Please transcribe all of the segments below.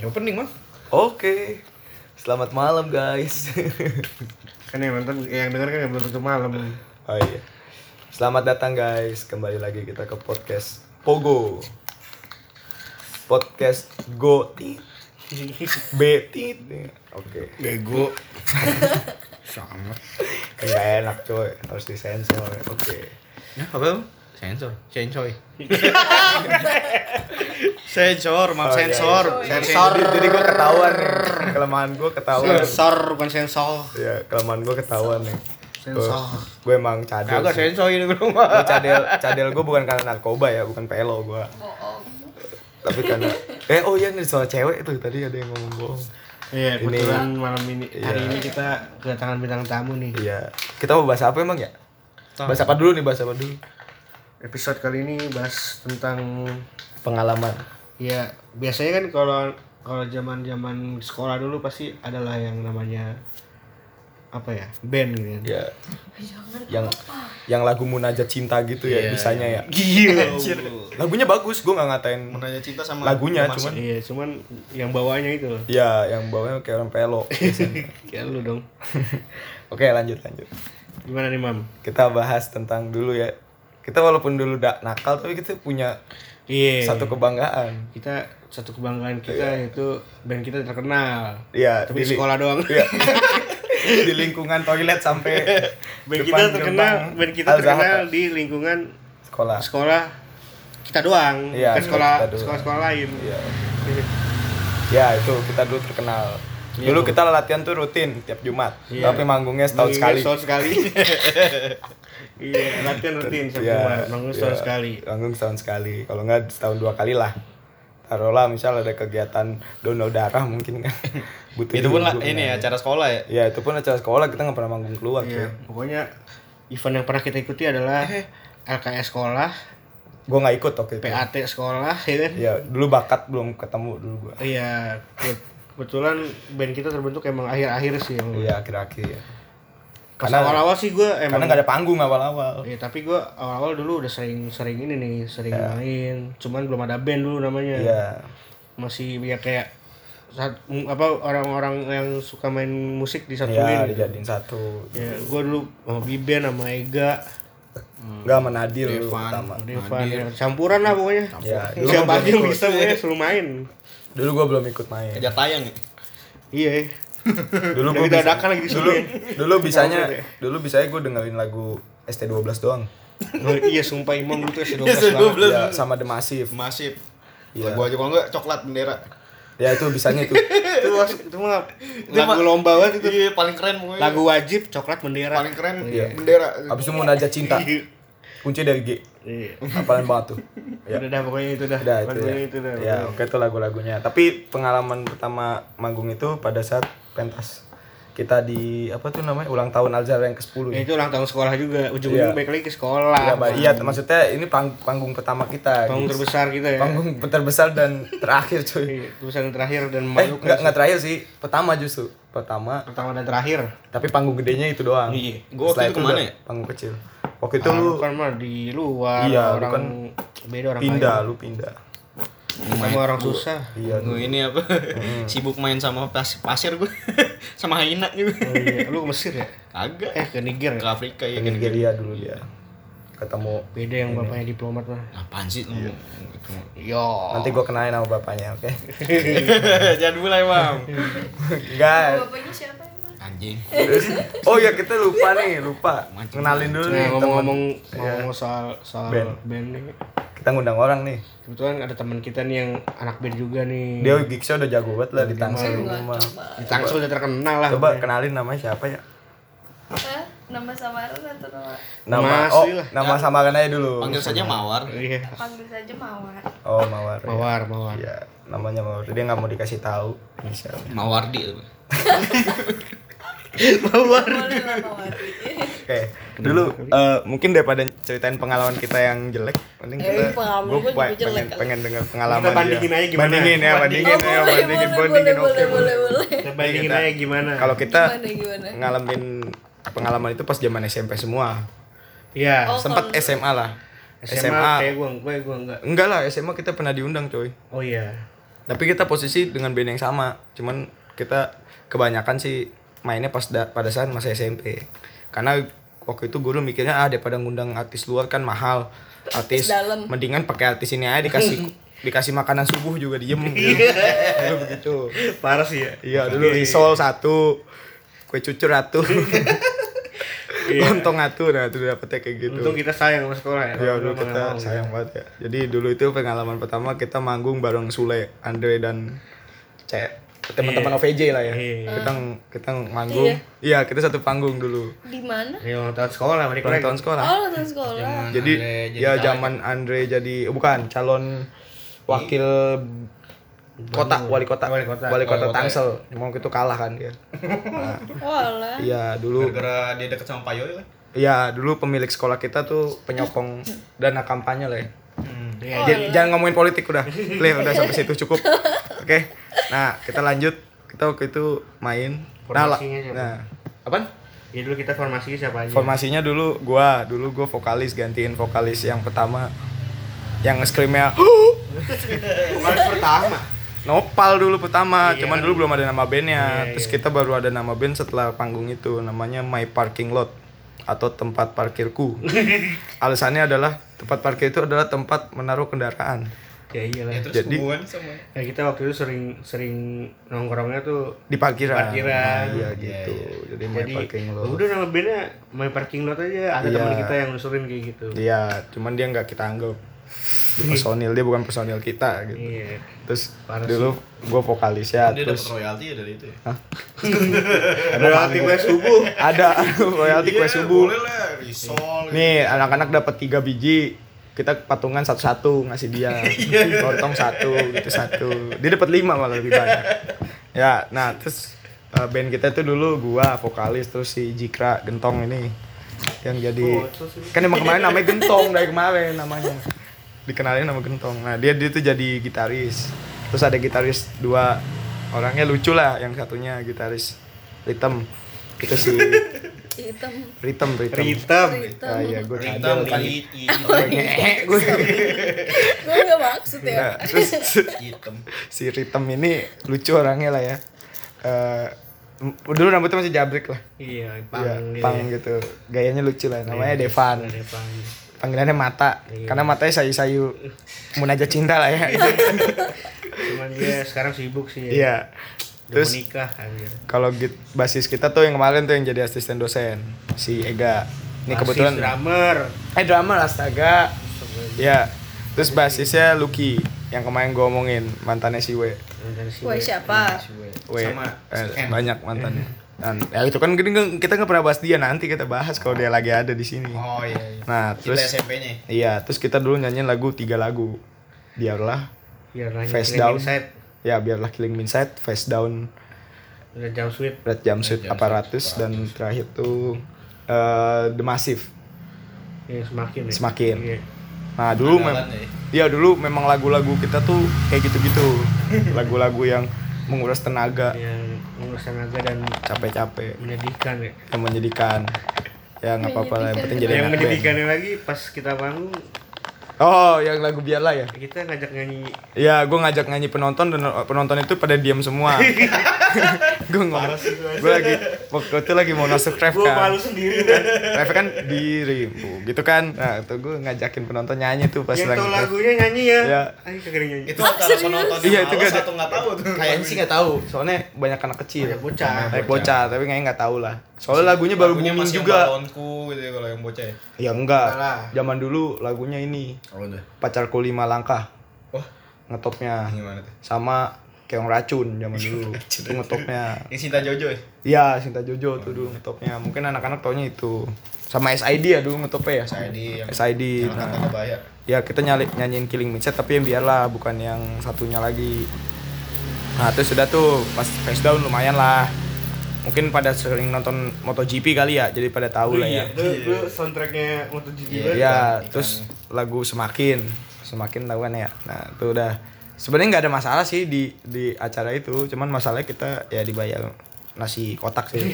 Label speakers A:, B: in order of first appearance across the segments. A: opening mah
B: Oke. Selamat malam guys.
C: Kan yang nonton, yang denger kan belum tentu malam.
B: oh iya. Selamat datang guys. Kembali lagi kita ke podcast Pogo. Podcast Goti Betit. Oke.
A: bego sama
B: Enggak enak coy, harus disensor. Oke.
A: ya apa sensor sencoy sensor maaf
B: Oh, iya,
A: sensor
B: iya. Sensor. Jadi gue ketahuan nih. Kelemahan gue ketahuan.
A: sensor bukan sensor
B: Iya, kelemahan gue ketahuan nih.
C: Sensor.
B: Gue emang cadel.
A: agak
B: sih.
A: sensor ini
D: gitu,
A: bro mah
B: Gua cadel cadel gue bukan karena narkoba ya bukan pelo gue tapi karena eh oh iya nih soal cewek itu tadi ada yang ngomong bohong
C: Iya,
B: Ini-
C: kebetulan malam ini hari
B: Iya.
C: ini kita kedatangan bintang tamu nih.
B: iya kita mau bahas apa emang ya bahas apa dulu nih bahas apa dulu
C: Episode kali ini bahas tentang
B: pengalaman
C: ya biasanya kan kalau kalau zaman-zaman sekolah dulu pasti adalah yang namanya apa ya? Band gitu kan.
B: ya yang yang lagu munajat cinta gitu ya
A: Iya,
B: bisanya ya
C: Gila.
B: lagunya bagus gue nggak ngatain
A: menanya cinta sama
B: lagunya cuman
C: Iya, cuman yang bawahnya itu loh.
B: ya yang bawahnya kayak orang pelo
C: Ya lu dong.
B: oke lanjut lanjut
C: Gimana nih, Mam?
B: kita bahas tentang dulu ya kita walaupun dulu dak nakal tapi kita punya
C: Iya.
B: satu kebanggaan
C: kita satu kebanggaan kita yaitu band kita terkenal.
B: Iya,
C: Tapi
B: di-
C: sekolah doang.
B: Iya. di lingkungan toilet sampai
C: band
B: depan
C: kita terkenal
B: gerbang
C: band kita
B: Al-Zahar.
C: terkenal di lingkungan
B: sekolah
C: sekolah kita doang
B: Iya,
C: bukan sekolah
B: kita doang.
C: sekolah sekolah lain
B: Iya. ya itu kita dulu terkenal dulu kita latihan tuh rutin tiap Jumat
C: Iya.
B: tapi manggungnya setahun sekali
C: setahun sekali iya latihan rutin setiap
B: Iya,
C: bulan manggung setahun
B: iya.
C: sekali
B: manggung setahun sekali kalau nggak setahun dua kali lah taruhlah misal ada kegiatan donor darah mungkin kan butuh
D: itu pun lah,
B: dihubungin
D: ini ya
B: aja.
D: acara sekolah ya
B: ya itu pun acara sekolah kita nggak pernah manggung keluar
C: iya
B: cuy.
C: pokoknya event yang pernah kita ikuti adalah
B: Eh.
C: LKS sekolah
B: gue nggak ikut oke
C: PAT sekolah ya kan
B: ya dulu bakat belum ketemu dulu gua
C: iya ke- kebetulan band kita terbentuk emang akhir-akhir sih yang
B: iya akhir-akhir ya.
C: pas
B: karena-
C: awal-awal sih gue emang
B: karena nggak ada panggung awal-awal
C: Iya tapi gue awal-awal dulu udah sering-sering ini nih, sering main. Cuman belum ada band dulu namanya.
B: Iya.
C: Masih ya kayak saat, m- apa orang-orang yang suka main musik
B: Ya,
C: disatuin. Ya,
B: dijadiin satu.
C: gue dulu sama Biben sama Ega, Hmm.
B: Enggak sama Nadir dulu pertama.
C: Devan, ya, campuran lah pokoknya.
B: Ya, dulu
C: Siapa
B: gua
C: aja yang bisa pokoknya suruh main.
B: Dulu gua belum ikut main.
D: kejar tayang ya
C: Iya.
B: Dulu
C: Udah
B: gua bisa-
C: dadakan lagi disuruh
B: Dulu
C: ya.
B: dulu bisanya dulu bisanya gua dengerin lagu ST12 doang.
C: Oh, iya sumpah Imam dulu tuh S12 banget.
B: Ya, sama The Massive.
D: masif
B: Iya.
D: lagu aja kalau enggak coklat bendera
B: Ya itu bisanya itu.
C: Itu, mas- itu mah lagu
D: mah-
A: Oh, gitu.
C: lomba banget itu.
D: iya paling keren pokoknya
C: Lagu wajib, coklat bendera.
D: paling keren
B: Iya.
D: bendera
B: Habis itu Munajat Cinta. Kunci dari G.
C: Iya.
B: Apalan banget tuh. Ya.
C: Udah dah pokoknya itu Iya. dah.
B: Udah itu
C: Lagunya
B: ya.
C: itu dah.
B: Ya, oke itu lagu-lagunya. Tapi pengalaman pertama manggung itu pada saat pentas kita di apa tuh namanya ulang tahun Alzheimer yang ke-10
C: Ya,
B: ya.
C: itu ulang tahun sekolah juga. Ujung-ujungnya
B: Iya.
C: balik lagi ke sekolah.
B: Iya,
D: Ah,
B: Mbak. iya, maksudnya ini pang- panggung pertama kita.
C: Panggung
B: gitu.
C: terbesar kita ya.
B: Panggung terbesar dan terakhir cuy.
C: Iya, Tulisan yang terakhir dan
B: Eh,
D: iya,
C: memalukan.
B: enggak enggak terakhir sih. Pertama justru. Pertama,
C: Pertama dan terakhir.
B: tapi panggung gedenya itu doang.
D: Iya.
B: Setelah
D: Gua waktu itu kemana
B: udah
D: ya? Ah,
B: Panggung kecil. Waktu itu
C: Itu
B: lu
C: kan mah di luar
B: Iya, lu
C: orang
B: kan
C: beda orang
B: pindah, lu pindah.
C: kaya. sama orang susah.
B: Iya.
D: gue ini apa sibuk main sama pas pasir gue sama Haina juga
C: Oh, iya. Lu ke Mesir ya?
D: kagak
C: Eh ke Niger
D: ke
C: ya?
D: Afrika
B: Ke
A: Iya.
D: ya kan
B: Nigeria dulu dia. Ketemu
C: Beda yang bapaknya diplomat mah.
D: apaan sih lu
C: Yo.
D: Oh.
B: Nanti gua kenalin sama bapaknya, oke?
D: jangan mulai bang
A: Iya.
B: Enggak.
E: Bapaknya siapa emang?
D: anjing
B: Terus- Oh ya kita lupa nih, lupa. Kenalin dulu
D: Eh,
C: Nah,
B: nih teman.
C: ngomong-ngomong
B: Iya.
C: ngomong soal soal
B: Band.
C: band. nih.
B: Kita ngundang orang nih.
C: Kebetulan ada teman kita nih yang anak band juga nih.
B: Dia gigsnya udah jago banget lah di Tangsel. Cuma-
C: di Tangsel udah terkenal
D: Ah,
C: lah.
B: Coba kenalin namanya siapa ya?
E: Hah? Nama samaran atau nama
B: Nama
C: Nama
B: oh,
C: asli lah.
B: nama samaran aja dulu.
D: panggil saja mawar
C: Iya.
E: panggil saja Mawar.
B: Oh, Mawar.
C: Mawar, mawar.
B: Iya, namanya Mawar. Dia nggak mau dikasih tahu. Misal.
D: Mawardi apa?
E: Boleh lah Mawar.
B: Oke, dulu eh, mungkin daripada ceritain pengalaman kita yang jelek, mending kita
E: Eh, pengalaman
B: gua
E: gua juga
B: pengen,
E: jelek kali.
B: pengen dengar pengalaman
C: Kita bandingin
B: dia.
C: aja gimana.
B: Bandingin ya, bandingin
E: Oh,
B: ya,
E: boleh,
B: bandingin,
E: boleh,
B: bandingin.
E: boleh,
B: Oke,
E: boleh, boleh.
C: Kita bayangin
B: Kita-
C: aja gimana.
B: Iya, Kalau kita
E: Gimana, gimana?
B: ngalamin pengalaman itu pas zaman SMP semua.
C: Iya.
E: Oh,
B: Sempat
E: kalau-
B: SMA lah.
C: SMA, kayak gue, gue, gue enggak.
B: Enggak lah, SMA kita pernah diundang, coy.
C: Oh iya.
B: tapi kita posisi dengan band yang sama cuman kita kebanyakan sih mainnya pas da- pada saat masa SMP karena waktu itu gue dulu mikirnya ah daripada ngundang artis luar kan mahal artis
F: dalam.
B: mendingan pakai artis ini aja dikasih dikasih makanan subuh juga diem gitu. Dulu begitu
A: Parah sih ya.
B: iya dulu risol satu kue cucur satu lontong satu nah itu dapetnya kayak gitu
C: Iya. Untung kita sayang sama sekolah ya.
B: Ya
C: kalau
B: dulu
C: nggak
B: kita
C: mau.
B: sayang banget ya. Jadi dulu itu pengalaman pertama kita manggung bareng Sule, Andre dan C teman-teman OVJ lah ya. Kita kita manggung. Iya, kita satu panggung dulu.
F: Di mana?
C: Ini ulang Iya, tahun sekolah, mereka
B: Ulang tahun sekolah.
F: Oh, nonton sekolah.
D: Nah,
B: Jadi ya zaman Andre jadi oh, bukan calon wakil kota wali kota wali kota, Oh, Tangsel mau itu kalah kan dia.
F: Walah.
B: Iya dulu
D: Gara-gara dia deket sama Payo ya.
B: iya dulu pemilik sekolah kita tuh penyokong dana kampanye lah ya.
C: Iya,
B: J- jangan ngomongin politik udah clear udah sampai situ cukup oke nah kita lanjut kita waktu itu main nah, la-
C: Formasinya siapa?
B: nah apa
C: Ya dulu kita formasinya siapa aja?
B: formasinya dulu gua dulu gua vokalis gantiin vokalis yang pertama yang screamnya
C: Formalis pertama. Iya.
B: Nopal dulu pertama, cuman dulu belum ada nama bandnya. Terus kita baru ada nama band setelah panggung itu, namanya My Parking Lot atau tempat parkirku. Alasannya adalah tempat parkir itu adalah tempat menaruh kendaraan.
C: Ya iyalah.
D: Ya terus
B: Jadi- Nah,
D: hubungan sama.
C: Ya kita waktu itu sering sering nongkrongnya tuh
B: di parkiran.
C: Parkiran.
B: Nah, iya gitu. Jadi main
C: jadi
B: parking lot.
C: udah nama bandnya main parking lot aja ada
B: Iya.
C: teman kita yang ngusulin kayak gitu
B: Iya, cuman dia nggak kita anggap Dia personil dia bukan personil kita gitu.
C: iya
B: Terus dulu gua vokalisnya
D: Dia dapat
B: terus
D: royalti ya dari itu ya.
C: berarti gue subuh
B: ada royalti kue subuh.
D: Boleh lah, risol.
B: Nih, anak-anak dapat tiga biji kita patungan satu-satu ngasih dia lontong satu gitu satu dia dapat lima malah lebih banyak ya nah terus eh, band kita tuh dulu gua vokalis terus si Jikra Gentong ini yang jadi kan emang kemarin namanya Gentong dari kemarin namanya dikenalin nama Gentong nah dia dia tuh jadi gitaris terus ada gitaris dua orangnya lucu lah yang satunya gitaris Ritem itu si
F: Hitam.
B: Ritem Ritem
C: hitam
F: Hitam.
B: Ah, iya, gue
D: Ritam di
B: gue
F: Gue gak maksud ya.
D: hitam.
B: Nah, si Ritem ini lucu orangnya lah ya. Eh m- dulu rambutnya masih jabrik lah.
C: iya pang
B: Iya,
C: gitu
B: pang gitu. Gayanya lucu lah. Namanya Devan.
C: ya, pang.
B: Panggilannya Mata.
C: Iya.
B: Karena matanya sayu-sayu munajat cinta lah ya.
C: cuman dia sekarang sibuk sih ya.
B: Iya.
C: Udah mau
B: Terus
C: nikah anjir
B: kalau git basis kita tuh yang kemarin tuh yang jadi asisten dosen si Ega.
C: Basis,
B: Ini kebetulan
C: drummer
B: eh drama astaga ya terus basisnya Lucky yang kemarin gue omongin mantannya si W
C: Dari si
F: Wah, siapa?
B: W eh, banyak mantannya dan ya itu kan gini nggak- kita nggak pernah bahas dia nanti kita bahas kalau dia lagi ada di sini
D: Oh iya. iya.
B: nah
D: Kita
B: terus
D: SMP-nya.
B: iya terus kita dulu nyanyiin lagu tiga lagu biarlah
C: biar Iya, nanya
B: Face
C: Killing
B: down.
C: Inside.
B: ya biarlah killing me inside face down
C: udah jam sweet
B: red jumpsuit aparatus dan terakhir tuh eh, the massive
C: ya, semakin ya.
B: Semakin.
C: Iya.
B: Nah dulu mem
D: Andalan ya.
B: ya dulu memang lagu-lagu kita tuh kayak gitu-gitu lagu-lagu yang menguras tenaga
C: yang mengurus tenaga dan
B: capek-capek
C: menyedihkan ya
B: yang menjadikan ya nggak apa-apa lah yang penting jadi
C: yang
B: anak band.
C: menyedihkannya lagi pas kita bangun
B: oh yang lagu biarlah ya
C: kita ngajak nyanyi
B: ya gue ngajak nyanyi penonton dan eh, penonton itu pada diam semua gue ngomong gue lagi waktu itu lagi mau masuk ref
C: gue malu
B: kan
C: sendiri kan
B: ref kan diri Bu, gitu kan nah tuh gue ngajakin penonton nyanyi tuh pas
C: yang
B: lagi
C: tau
B: ref.
C: lagunya nyanyi ya
B: Iya.
C: ayo kagak nyanyi
D: Itu antara penonton
B: Iya,
D: yang
B: itu
D: males
B: gak ada.
D: atau nggak tahu tuh.
B: kayaknya sih nggak tahu soalnya banyak anak kecil
C: Banyak bocah.
B: banyak bocah tapi kayaknya nggak tahu lah soalnya lagunya baru
D: Lagunya
B: booming
D: masih yang
B: juga
D: balonku gitu ya kalau yang bocah ya.
B: ya enggak zaman dulu lagunya ini
D: Oh udah.
B: pacarku lima langkah
D: Wah, ah,
B: ngetopnya
D: gimana tuh?
B: sama keong racun zaman dulu itu ngetopnya
D: Ini Sinta Jojo ya?
B: Iya, Sinta Jojo tuh dulu ngetopnya. Mungkin anak-anak taunya itu. Sama SID ya dulu ngetopnya ya.
D: SID yang-
B: SID.
D: Yang
B: nah.
D: kata bahaya.
B: Ya, kita nyali, nyanyiin Killing Mindset tapi yang biarlah bukan yang satunya lagi. Nah, terus sudah tuh pas face down lumayan lah. Mungkin pada sering nonton MotoGP kali ya, jadi pada tahu lah ya.
C: lu lu soundtracknya MotoGP
B: Iya, terus lagu semakin semakin tahu kan ya. Nah, itu udah sebenarnya nggak ada masalah sih di di acara itu, cuman masalahnya kita ya dibayar nasi kotak sih.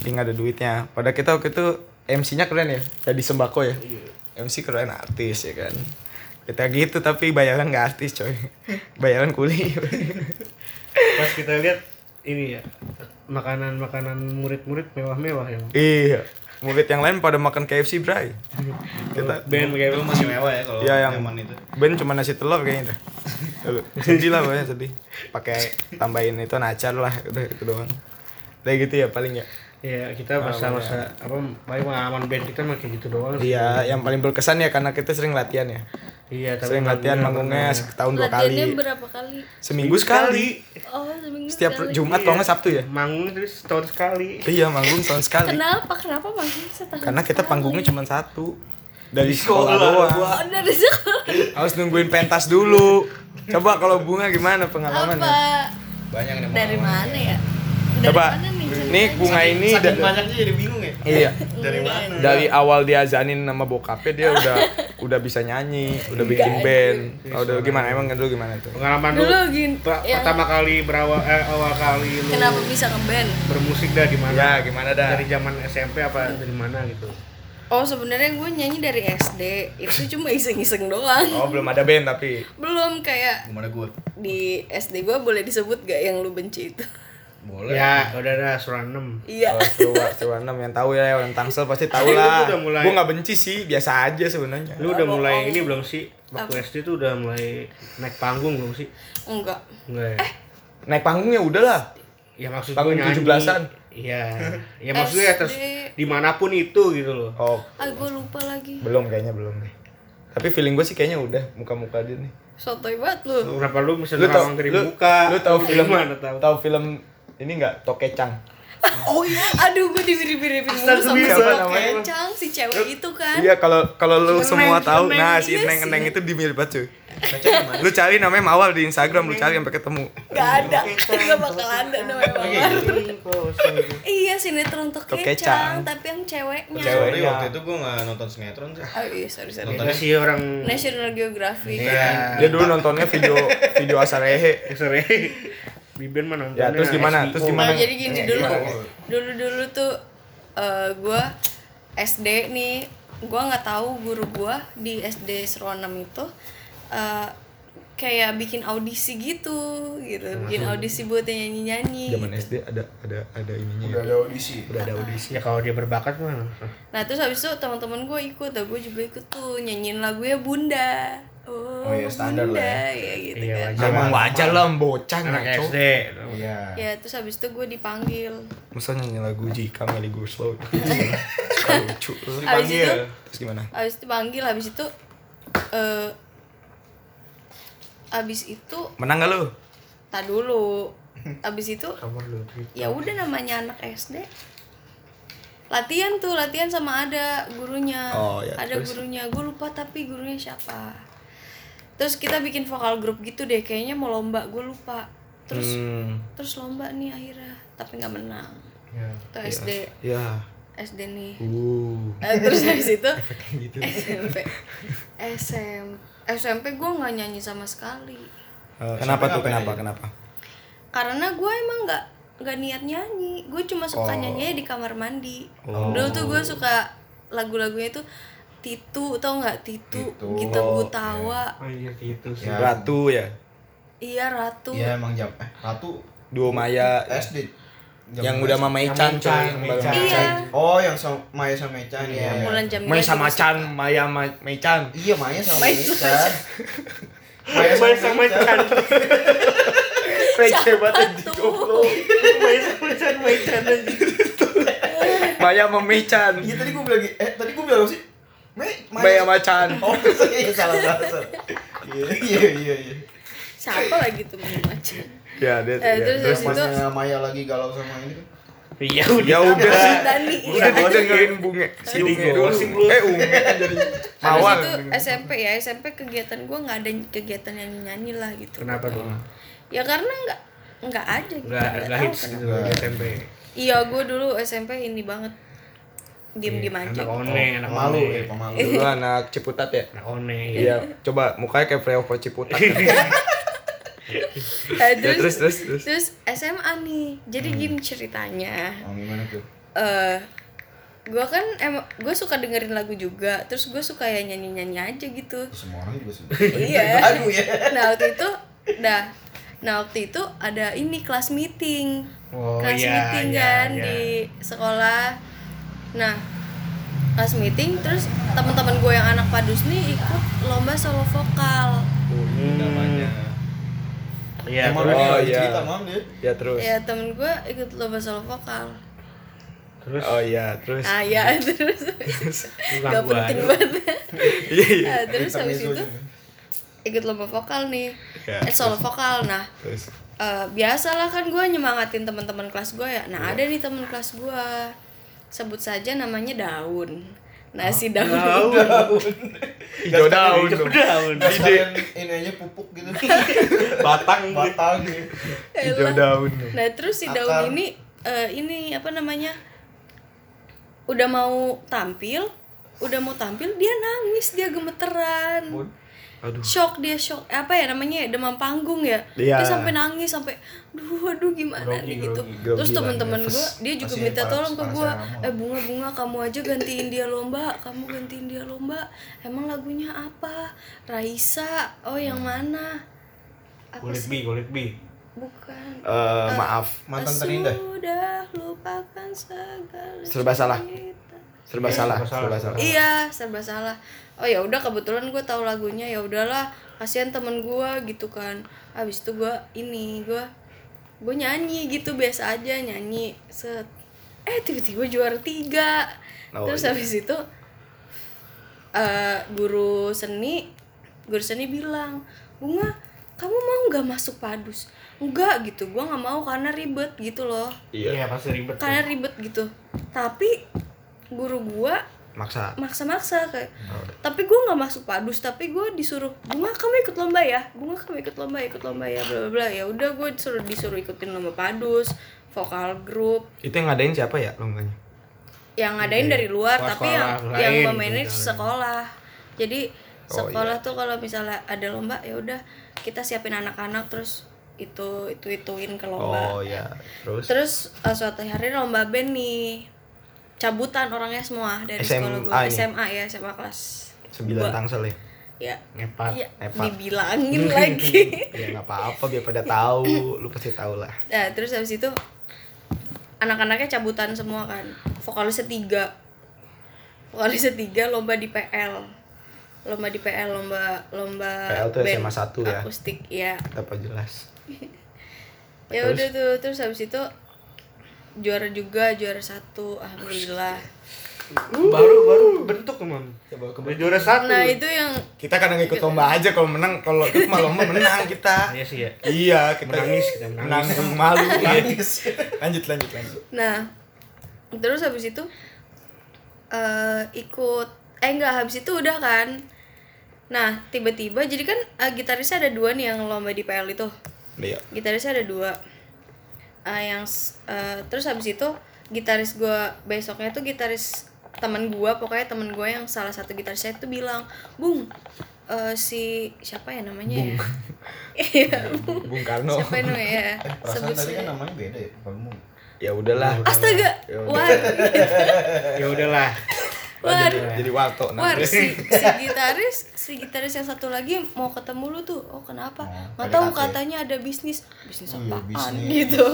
B: Tapi nggak ada duitnya. Pada kita waktu itu MC-nya keren ya, jadi sembako ya. MC keren artis ya kan. kita gitu tapi bayaran nggak artis coy bayaran kuli
C: Pas kita lihat ini ya makanan-makanan murid-murid mewah-mewah ya.
B: iya murid yang lain pada makan KFC bray kita
C: Band kayak gitu.
A: Dulu masih mewah ya kalau
B: ya yang
A: zaman itu.
B: Ben cuma nasi telur kayaknya dah. Lalu, sedih lah pokoknya sedih pakai tambahin itu nacar lah udah itu doang udah gitu ya paling ya
C: ya kita masa-masa apa paling pengalaman band kita mah kayak gitu doang. sih.
B: iya yang paling berkesan ya karena kita sering latihan ya
C: Iya, tapi
B: sering latihan manggungnya setahun dua
F: Latihannya
B: kali
F: berapa kali?
C: Iya.
B: seminggu sekali
F: Oh, seminggu
B: setiap
F: sekali.
B: Jumat kalau nggak Sabtu ya
C: manggung terus setahun sekali.
B: iya manggung setahun sekali
F: Kenapa? Kenapa masih setahun?
B: karena kita
F: sekali?
B: panggungnya cuma satu dari sekolah doang
F: Oh, dari sekolah
B: harus nungguin pentas dulu coba kalau bunga gimana
F: apa?
B: pengalamannya
A: Banyak nih.
F: Dari
A: pengalaman.
F: mana ya? Dari
B: coba
F: mana nih?
B: nih bunga ini
A: Saking
B: da-
A: banyaknya jadi bingung ya.
B: iya
A: Dari mana?
B: dari awal diazanin nama bokapnya dia udah udah bisa nyanyi udah bikin band oh, udah gimana emang dulu gimana tuh
C: Pengalaman lu
F: Dulu gini.
C: per-
F: yang-
C: pertama kali berawal eh, awal kali lu
F: Kenapa bisa ngeband?
C: bermusik dah di mana?
B: Ya, gimana
C: Dari zaman SMP apa
F: Hmm.
C: dari mana gitu?
F: Oh sebenarnya gue nyanyi dari SD itu cuma iseng-iseng doang.
B: oh belum ada band tapi
F: Belum kayak
A: Gimana gue?
F: di SD gue boleh disebut gak yang lu benci itu?
A: Boleh.
C: Ya, udah dah surah 6.
F: Iya.
B: Oh, Sewa, Sewa 6 yang tahu ya orang Tangsel pasti tahu
C: Tapi lu
B: lah.
C: udah mulai-
B: Gue nggak benci sih, biasa aja sebenarnya.
C: Lu
F: Oh,
C: udah mulai ini belum sih? Waktu SD tuh udah mulai naik panggung belum sih?
F: Enggak.
C: Enggak ya?
F: Eh.
B: Naik panggungnya udah lah.
C: Ya maksud
B: Panggung
C: gue nyanyi.
B: 17-an.
C: Iya. Ya maksudnya terus dimanapun itu gitu loh.
B: Oh,
F: Ah gue lupa lagi.
B: belum kayaknya belum deh. Tapi feeling gue sih kayaknya udah muka-muka dia nih.
F: Sotoy banget lu.
B: Oh.
C: Kenapa lu bisa
B: Lu tau
C: nerawang dari
B: lu,
C: muka?
B: lu tau film
C: mana
B: tahu
C: tahu?
B: film ini nggak Tokecang?
F: Oh iya, aduh gue dibiri-biri mulu sama
B: Astagfirullah,
F: si
B: namanya.
F: kecang si cewek itu kan.
B: Iya kalau kalau lu
F: Eneng,
B: semua tahu
F: eneng.
B: nah si
F: Iya
B: Neng
F: sih.
B: Neng itu di mirip banget cuy. Lu cari namanya Mawar di Instagram lu cari sampai ketemu.
F: Gak ada, gak bakal ada namanya Mawar.
C: gitu.
F: Iya sinetron tuh
B: Tuh
F: kecang,
B: kecang.
F: tapi yang ceweknya.
B: Cewek.
A: Sorry
B: Ceweknya.
A: waktu itu gue nggak nonton sinetron sih.
F: Oh iya, sorry sorry.
A: Nontonnya
C: Ada sih orang
F: National Geographic.
C: Iya.
B: Dia dulu nontonnya video video Asarehe.
C: X-ray. Biben mah nontonnya
B: Ya terus gimana?
C: HBO.
B: Terus gimana?
F: Oh, jadi gini
C: Iya,
F: dulu. Dulu dulu tuh eh, gua SD nih, gua nggak tahu guru gua di SD Seronam itu eh, kayak bikin audisi gitu, gitu. Bikin audisi buat yang nyanyi-nyanyi.
B: Zaman ya? SD ada ada ada ininya. ya.
A: audisi.
B: Udah ada audisi.
C: Ya kalau dia berbakat mah.
F: Nah terus habis itu teman-teman gue ikut, dan gue juga ikut tuh nyanyiin lagunya Bunda. Oh,
A: Oh iya, standar
F: Bunda.
A: lah ya.
F: ya. gitu
C: Iya,
F: kan.
C: wajar.
B: Emang wajar lah bocah
C: Anak
B: ngaco.
C: SD.
A: Iya.
F: Ya terus habis itu gue dipanggil.
B: Masa nyanyi lagu Jika Meli Guslow Iya. Suka lucu
F: Habis itu,
B: Terus gimana?
F: habis itu panggil, habis itu eh habis itu
B: Menang gak lu?
F: tak dulu. Habis itu
C: Kamar lu.
F: ya udah namanya anak SD. Latihan tuh, latihan sama ada gurunya.
B: Oh, ya,
F: Ah, ada
B: terus?
F: gurunya. Gue lupa tapi gurunya siapa. Terus kita bikin vokal grup gitu deh, kayaknya mau lomba, gue lupa. Terus
B: Hmm,
F: terus lomba nih akhirnya, tapi nggak menang.
C: Ya.
F: Itu SD,
B: Ya
F: SD nih.
B: Uh gitu.
F: Eh, terus habis itu SMP SM SMP gue nggak nyanyi sama sekali
B: Eh, Kenapa tuh?
A: ngapain
B: Kenapa?
A: aja?
B: Kenapa?
F: karena gue emang nggak nggak niat nyanyi gue cuma suka
B: Oh.
F: nyanyinya di kamar mandi
B: Oh.
F: dulu tuh gue suka lagu-lagunya itu Titu tau nggak Titu,
A: Titu.
F: gitu Gutawa
C: Anjir gitu sih.
A: Ya.
B: Ratu ya
F: iya Ratu
A: Iya emang jam eh Ratu
B: Duo Maya
A: SD. Jam
B: Yang udah
A: berapa?
B: sama Maican coy
C: Maican,
B: yang
C: Maican.
B: bareng.
F: iya
A: Oh yang sama Maya sama Maican ya.
F: Mulan Jamila
B: Maya
F: juga
B: sama
F: suka.
B: Chan Maya Ma Maican
A: Iya Maya sama
F: Maya
A: Maican.
C: Main sama Maican.
B: Receh banget anjing,
F: Tuh.
B: goblok.
C: Main sama Maican Maican aja.
B: Maya sama Maican
A: Iya tadi gue bilang eh tadi gue bilang apa sih? Maya
B: Maya sama Chan
A: Oh, iya salah salah. salah. Iya iya iya iya.
F: siapa lagi tuh macam
B: Ya dia
F: Eh,
B: ya.
F: terus-
A: Yang
F: Terus itu
A: masnya Maya lagi galau sama ini kan.
C: Iya
B: Ya udah
F: Dani
B: Udah didengerin bunge Si bunge dulu Eh unge jadi Mawar
F: Habis itu SMP ya SMP kegiatan gue nggak ada kegiatan yang nyanyi lah gitu
C: Kenapa tuh?
F: ya karena nggak nggak ada gitu
C: Enggak
F: nggak
C: enggak
F: tahu
C: hits
F: kenapa.
C: gitu di SMP.
F: iya gue dulu SMP ini banget diem diem
C: Iya.
F: aja
C: Anak one, anak
A: Pemalu
C: one.
A: ya pemalu.
B: Dulu anak Ciputat ya
C: Anak one.
B: Iya, coba mukanya kayak Freo Ciputat.
F: Nah,
B: ya,
F: terus,
B: terus
F: terus
B: terus terus.
F: SMA nih jadi gini ceritanya
A: Oh, gimana tuh?
F: eh gue kan emang gue suka dengerin lagu juga terus gue suka ya nyanyi nyanyi aja gitu
A: Semua orang juga sebenarnya.
F: Iya.
A: Baru ya.
F: nah waktu itu dah nah waktu itu ada ini kelas meeting
D: Oh,
F: kelas
D: iya,
F: meeting
D: iya,
F: kan
D: iya.
F: di
C: Hmm.
F: sekolah nah kelas meeting terus teman-teman gue yang anak padus nih ikut lomba solo vokal
A: Namanya.
D: Iya,
A: Emang
D: terus-
A: ini
B: Oh,
A: lagi
B: iya.
A: cerita mam dia.
B: ya terus
F: ya temen gue ikut lomba solo vokal
C: Terus
B: oh iya terus
F: nah ya terus
D: Gangguan.
F: gak penting banget
B: iya iya
F: Nah, terus habis
A: Intermezzo
F: itu
A: juga.
F: ikut lomba vokal nih
B: Ya,
F: eh, solo vokal nah
B: terus
F: eh biasalah kan gue nyemangatin teman-teman kelas gue ya
B: Iya.
F: nah ada nih teman kelas gue sebut saja namanya Daun
B: Ah,
F: nah si Daun,
B: hijau daun dong.
D: daun.
A: Nah, sekalian ini aja pupuk gitu.
F: Iya.
B: batang
A: Batang gitu.
B: hijau daun dong.
F: nah terus si Daun
A: Akar.
F: ini eh, ini apa namanya udah mau tampil udah mau tampil dia nangis dia gemeteran shock dia shock apa ya namanya ya, demam panggung ya
B: Iya.
F: dia sampai nangis sampai duh aduh gimana nih gitu
B: grogi
F: terus
B: lah,
F: temen-temen
B: nervous.
F: gue dia juga
A: Masih
F: minta
A: panas-
F: tolong ke
A: panas
F: gue
A: yang lama.
F: eh bunga bunga kamu aja gantiin dia lomba kamu gantiin dia lomba emang lagunya apa Raisa oh yang mana apa
C: kulit
F: sih?
C: bi, kulit bi.
F: bukan Eh,
B: Eh, maaf
A: Mantan terindah.
F: sudah lupakan segala
B: Serba salah.
F: cerita.
B: serba
C: Iya,
B: salah
C: serba salah,
B: serba
C: serba
B: salah
F: Iya, serba salah. Oh ya udah kebetulan gue tahu lagunya ya udahlah kasihan temen gue gitu kan. Abis itu gue ini gue gue nyanyi gitu biasa aja nyanyi set. Eh tiba-tiba juara tiga.
B: Oh,
F: Terus
B: iya.
F: habis itu eh, guru seni guru seni bilang bunga kamu mau nggak masuk padus? Enggak gitu, gue nggak mau karena ribet gitu loh,
B: iya
C: pasti ribet.
F: karena ribet gitu. Tapi guru gua
B: maksa
F: maksa-maksa kayak
B: Oh.
F: tapi gue nggak masuk padus tapi gue disuruh bunga kamu ikut lomba ya bunga kamu ikut lomba ikut lomba ya bla bla bla ya udah gue disuruh disuruh ikutin lomba padus vokal grup
B: itu yang ngadain siapa ya lombanya
F: yang ngadain dari luar
C: Sekolah
F: tapi yang
C: lain
F: yang
C: gitu
F: memanage
C: misalnya.
F: sekolah jadi
B: Oh,
F: sekolah tuh kalau misalnya ada lomba ya udah kita siapin anak-anak terus itu itu ituin ke
B: oh
F: lomba
B: iya terus
F: terus eh, suatu hari lomba band nih cabutan orangnya semua dari sekolah gue
B: SMA nih.
F: SMA ya SMA kelas
B: sembilan
F: dua.
B: tangsel ya
F: ya
C: Ngepat.
F: Iya,
B: Epat.
F: dibilangin iya lagi.
C: Iya,
B: ya nggak apa-apa biar pada tahu lu pasti tahu lah
F: Nah, terus habis itu anak-anaknya cabutan semua kan. Vokalisnya tiga. Vokalisnya tiga lomba di PL. Lomba di PL, lomba lomba
B: PL tuh
F: band
B: SMA satu ya?
F: Akustik, ya.
B: apa jelas Terus?
F: Ya udah tuh, terus habis itu juara juga, juara satu, alhamdulillah.
C: Baru baru bentuk emang.
A: Coba ke
C: Udah juara satu.
F: Nah, itu yang
B: kita kadang ikut lomba aja kalau menang kalau ikut mah lomba menang kita
C: Iya sih ya.
B: iya kita Iya.
C: Menangis, kita menangis.
B: menang, malu
A: Nangis.
B: lanjut lanjut lanjut
F: Nah, terus habis itu eh ikut eh enggak habis itu udah kan. Nah, tiba-tiba jadi kan eh, gitarisnya ada dua nih yang lomba di PL itu.
B: iya
F: Gitarisnya ada dua. Eh, yang s- eh, terus habis itu gitaris gua besoknya tuh gitaris teman gua pokoknya teman gua yang salah satu gitarisnya itu bilang, "Bung, eh, si siapa ya namanya ya?" Iya, Bung.
B: Bung Karno
F: Siapa namanya ya?
A: Perasaan
F: Sebut
A: tadi kan
F: saja.
A: namanya beda ya, kamu.
B: ya udahlah
F: Astaga,
B: Ya udah.
F: wah,
C: Ya udahlah.
F: wah,
B: jadi warto Nah,
F: Wah,
B: nanti
F: si, si gitaris, si gitaris yang satu lagi mau ketemu lu tuh. Oh, kenapa?
A: Oh,
F: Nggak tahu
A: PDKT.
F: katanya ada bisnis. Bisnis
A: Iya,
F: apaan
A: bisnis.
F: gitu.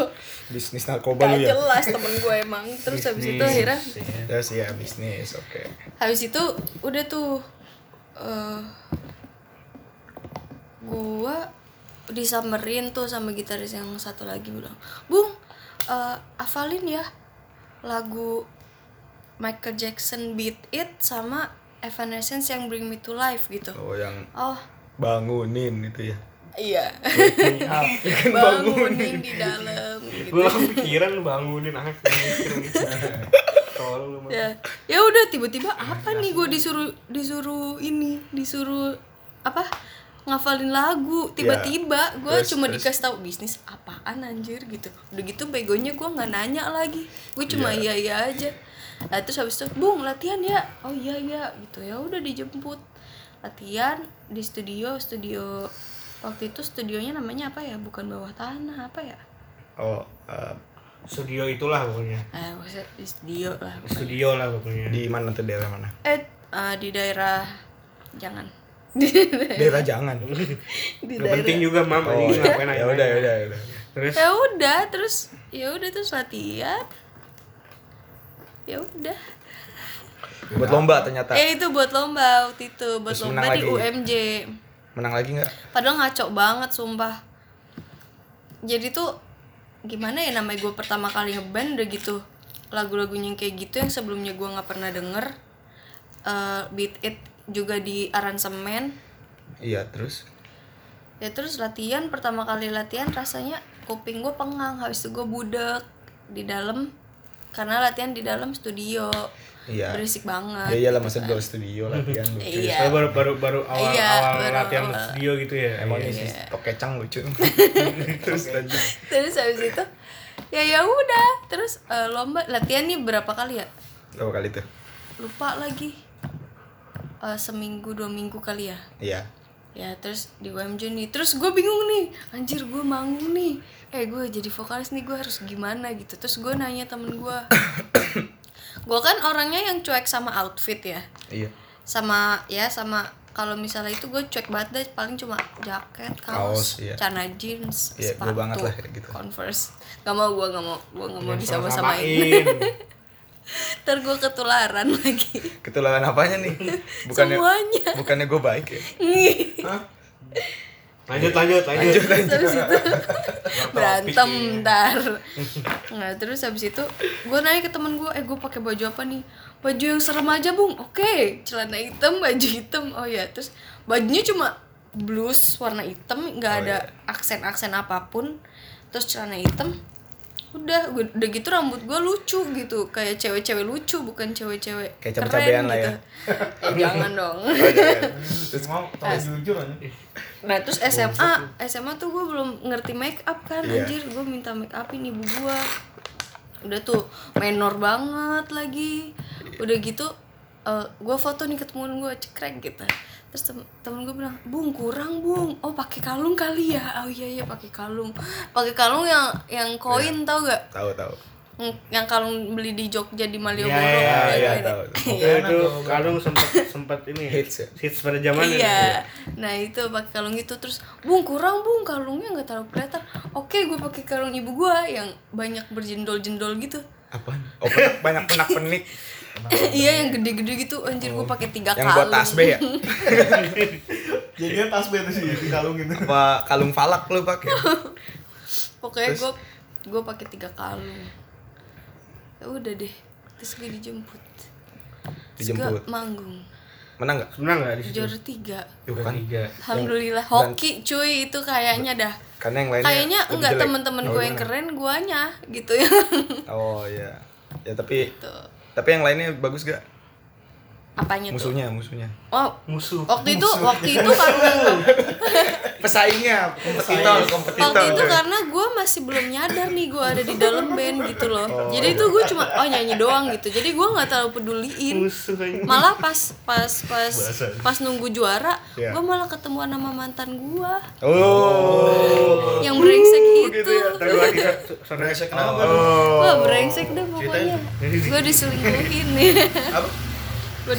B: bisnis narkoba
F: Gak
B: lu ya
F: jelas temen gue emang. Terus habis itu akhirnya
B: terus ya bisnis oke
F: habis itu udah tuh eh gua disamperin tuh sama gitaris yang satu lagi bilang bung eh, hafalin ya lagu Michael Jackson Beat It sama Evanescence yang Bring Me to Life gitu
B: oh yang
F: oh
B: bangunin itu ya
F: iya
B: Ikan
F: bangunin di dalam gitu
C: Gua kepikiran lu bangunin anak. Tolong lu mah.
F: ya ya udah tiba-tiba
B: Nah,
F: apa nih gue disuruh disuruh ini disuruh apa ngafalin lagu tiba-tiba gue
B: Ya. Terus,
F: cuma
B: terus.
F: dikasih tahu bisnis apaan anjir gitu udah gitu begonya gue nggak nanya lagi gue cuma
B: Ya.
F: iya iya aja nah, terus habis itu bung latihan ya oh iya iya gitu ya udah dijemput latihan di studio studio waktu itu studionya namanya apa ya bukan bawah tanah apa ya
B: oh eh,
C: studio itulah pokoknya
F: eh maksudnya di studio lah
C: studio lah pokoknya
B: Di mana tuh daerah mana?
F: eh eh, di daerah jangan
B: Daerah jangan.
F: di
C: Gak penting juga mam
B: Oh,
C: ini Oh, iya. ngapain aja
B: ya udah, ya udah, ya udah.
C: terus
F: ya udah terus ya udah terus latihan ya udah
B: Buat lomba ternyata.
F: eh itu buat lomba waktu itu buat
B: Terus
F: lomba
B: menang
F: di
B: lagi.
F: UMJ
B: Menang lagi nggak?
F: padahal ngaco banget sumpah jadi tuh gimana ya namanya gue pertama kali ngeband udah gitu lagu-lagunya yang kayak gitu yang sebelumnya gue nggak pernah denger eh, beat it juga di aransemen
B: Iya, terus.
F: ya terus latihan pertama kali latihan rasanya kuping gue pengang habis itu gue budek di dalam karena latihan di dalam studio
B: Iya.
F: berisik
B: Ya
F: banget
B: iyalah masa gue studio latihan lucu.
F: gitu
B: ya.
F: kan. iya
C: Soalnya baru baru baru awal
F: Iya,
C: awal
F: baru
C: latihan
F: awal.
C: studio gitu ya
B: Emang ini
F: Iya,
B: sih tokecang lucu. terus lanjut.
F: terus habis itu ya ya udah terus eh, lomba latihan nih berapa kali ya
B: Berapa kali tuh?
F: lupa lagi Eh, seminggu dua minggu kali ya
B: Iya.
F: ya terus di UMJ nih terus gue bingung nih anjir gue manggung nih eh gue jadi vokalis nih gue harus gimana gitu terus gue nanya temen gue gue kan orangnya yang cuek sama outfit ya
B: Iya.
F: sama ya sama kalau misalnya itu gue cuek banget deh paling cuma jaket kaos,
B: Kaos, iya.
F: celana jeans
B: Iya, gue
F: sepatu
B: banget lah kayak gitu. Iya,
F: converse gak mau gue gak mau gue gak mau
C: Jangan sama-samain.
F: disama-samain ntar gue ketularan lagi
B: Ketularan apanya nih? Bukannya
F: Semuanya.
B: bukannya gue baik ya?
C: lanjut lanjut lanjut,
B: Lanjut lanjut.
F: terus itu berantem ntar nah terus habis itu gue nanya ke temen gue eh gue pakai baju apa nih baju yang serem aja bung oke celana hitam baju hitam oh ya terus bajunya cuma blus warna hitam
B: Oh,
F: nggak ada
B: iya.
F: aksen aksen apapun terus celana hitam udah gua- udah gitu rambut gue lucu gitu kayak cewek-cewek lucu bukan cewek-cewek
B: Kayak
F: keren
B: cabe-cabean lah ya.
F: gitu. Eh, jangan dong
A: Iya. Terus mau tahu jujur aja.
F: Nah terus SMA, SMA tuh gue belum ngerti make up kan
B: Iya.
F: Anjir gue minta make upin ibu gue Udah tuh minor banget lagi Udah gitu eh gue foto nih ke temen gue cekrek gitu Terus tem temen gue bilang, bung kurang bung Oh pakai kalung kali ya, oh iya iya pakai kalung pakai kalung yang yang
B: Iya.
F: koin tau gak?
B: Tahu tahu.
F: Yang- Yang kalung beli di Jogja di Malioboro kan?" Gitu,
C: Iya, iya,
F: kayak
B: iya,
F: gini.
B: tahu.
C: Waktu itu kalung sempat sempat ini ya,
B: Hits ya?
C: hits pada zaman
F: iya nah itu pakai kalung itu terus bung kurang bung kalungnya nggak terlalu kelihatan oke gue pakai kalung ibu gua yang banyak berjendol-jendol gitu
B: Apaan? Oh, penak- banyak penak penik.
F: iya yang gede-gede gitu anjir gue pakai tiga
B: Oh. Yang buat
F: kalung
B: tasbih ya?
A: Jadi dia tas bete sih di kalung gitu.
B: Apa kalung falak lu pakai?
F: pokoknya gue gue pakai tiga kalung ya udah deh terus gue dijemput Terus gua
B: Dijemput.
F: manggung
B: Menang nggak?
C: Senang nggak di situ?
B: Iya,
F: juara tiga
B: Tuh kan.
C: Tiga.
F: alhamdulillah hoki cuy itu kayaknya dah
B: Karena yang lainnya
F: kayaknya
B: lebih
F: enggak
B: jelek.
F: temen-temen
B: Oh,
F: gue yang
B: gimana?
F: keren guanya gitu ya
B: Oh iya. Ya tapi
F: Tuh.
B: tapi yang lainnya bagus gak?
F: apanya tuh
B: Musuhnya, musuhnya.
F: oh
C: Musuh.
F: waktu itu waktu itu karena
B: Pesaingnya, kompetitor,
F: waktu
C: kan?
F: itu kan- karena gue masih belum nyadar nih gue ada di dalam band
C: Oh,
F: gitu loh
C: iya.
F: jadi itu gue cuma oh nyanyi doang gitu jadi gue nggak terlalu peduliin
C: Musuh aja.
F: malah pas pas pas pas nunggu juara
B: Iya.
F: gue malah ketemuan sama mantan gue
B: Oh.
F: yang brengsek itu
C: Gitu ya. Oh, Tapi lagi sore
B: Oh.
A: Kenapa?
F: wah brengsek dah pokoknya gue diselingkuhin nih gue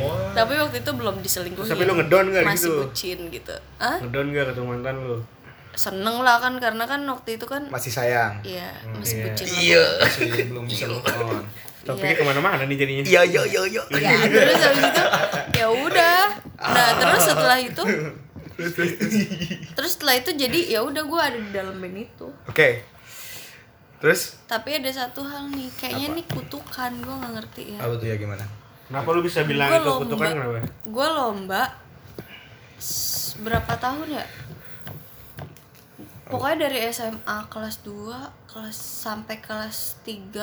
C: selingkuhin.
F: tapi waktu itu belum diselingkuhin
C: Tapi lu ngedon nggak
F: masih
C: gitu?
F: bucin gitu ah
C: Ngedon nggak ketemu mantan lu?
F: seneng lah kan karena kan waktu itu kan
B: Masih sayang.
F: Iya, masih
C: iya.
F: bucin lah.
B: Masih belum bisa move
F: Iya.
B: on.
C: Topiknya kemana-mana nih jadinya.
B: Iya, yo yo yo.
F: ya terus habis itu ya udah nah terus setelah itu terus setelah itu jadi ya udah gue ada di dalam band itu
B: Oke. Terus
F: tapi ada satu hal nih kayaknya nih kutukan gue nggak ngerti ya
B: apa tuh ya gimana?
C: Kenapa lu bisa bilang
F: gue
C: itu
F: lomba
C: kutukan kenapa?
F: gue lomba s- berapa tahun ya pokoknya dari SMA kelas 2 kelas sampai kelas 3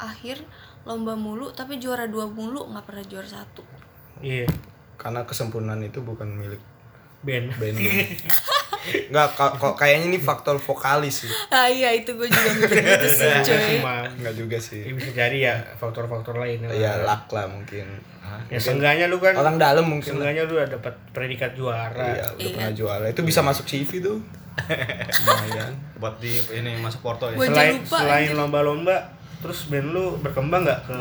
F: akhir lomba mulu tapi juara dua mulu nggak pernah juara satu
C: Iya.
B: Karena kesempurnaan itu bukan milik
C: Ben.
B: band. Enggak, kok kayaknya ini faktor vokalis sih.
F: ah iya itu gue juga mikir gitu sih cuy
C: Cuma
B: Enggak juga
C: ya
B: sih.
C: bisa jadi ya faktor-faktor lain.
B: Ya luck lah mungkin.
C: Ya seenggaknya lu kan
B: Orang dalam mungkin. lah.
F: Iya.
C: seenggaknya lu udah dapat predikat juara.
B: Iya, udah pernah juara. Itu bisa masuk CV tuh. lumayan
D: buat di ini masuk porto ya
F: Gua aja
C: selain
F: lupa,
C: selain
F: anjir.
C: lomba-lomba terus band lu berkembang nggak ke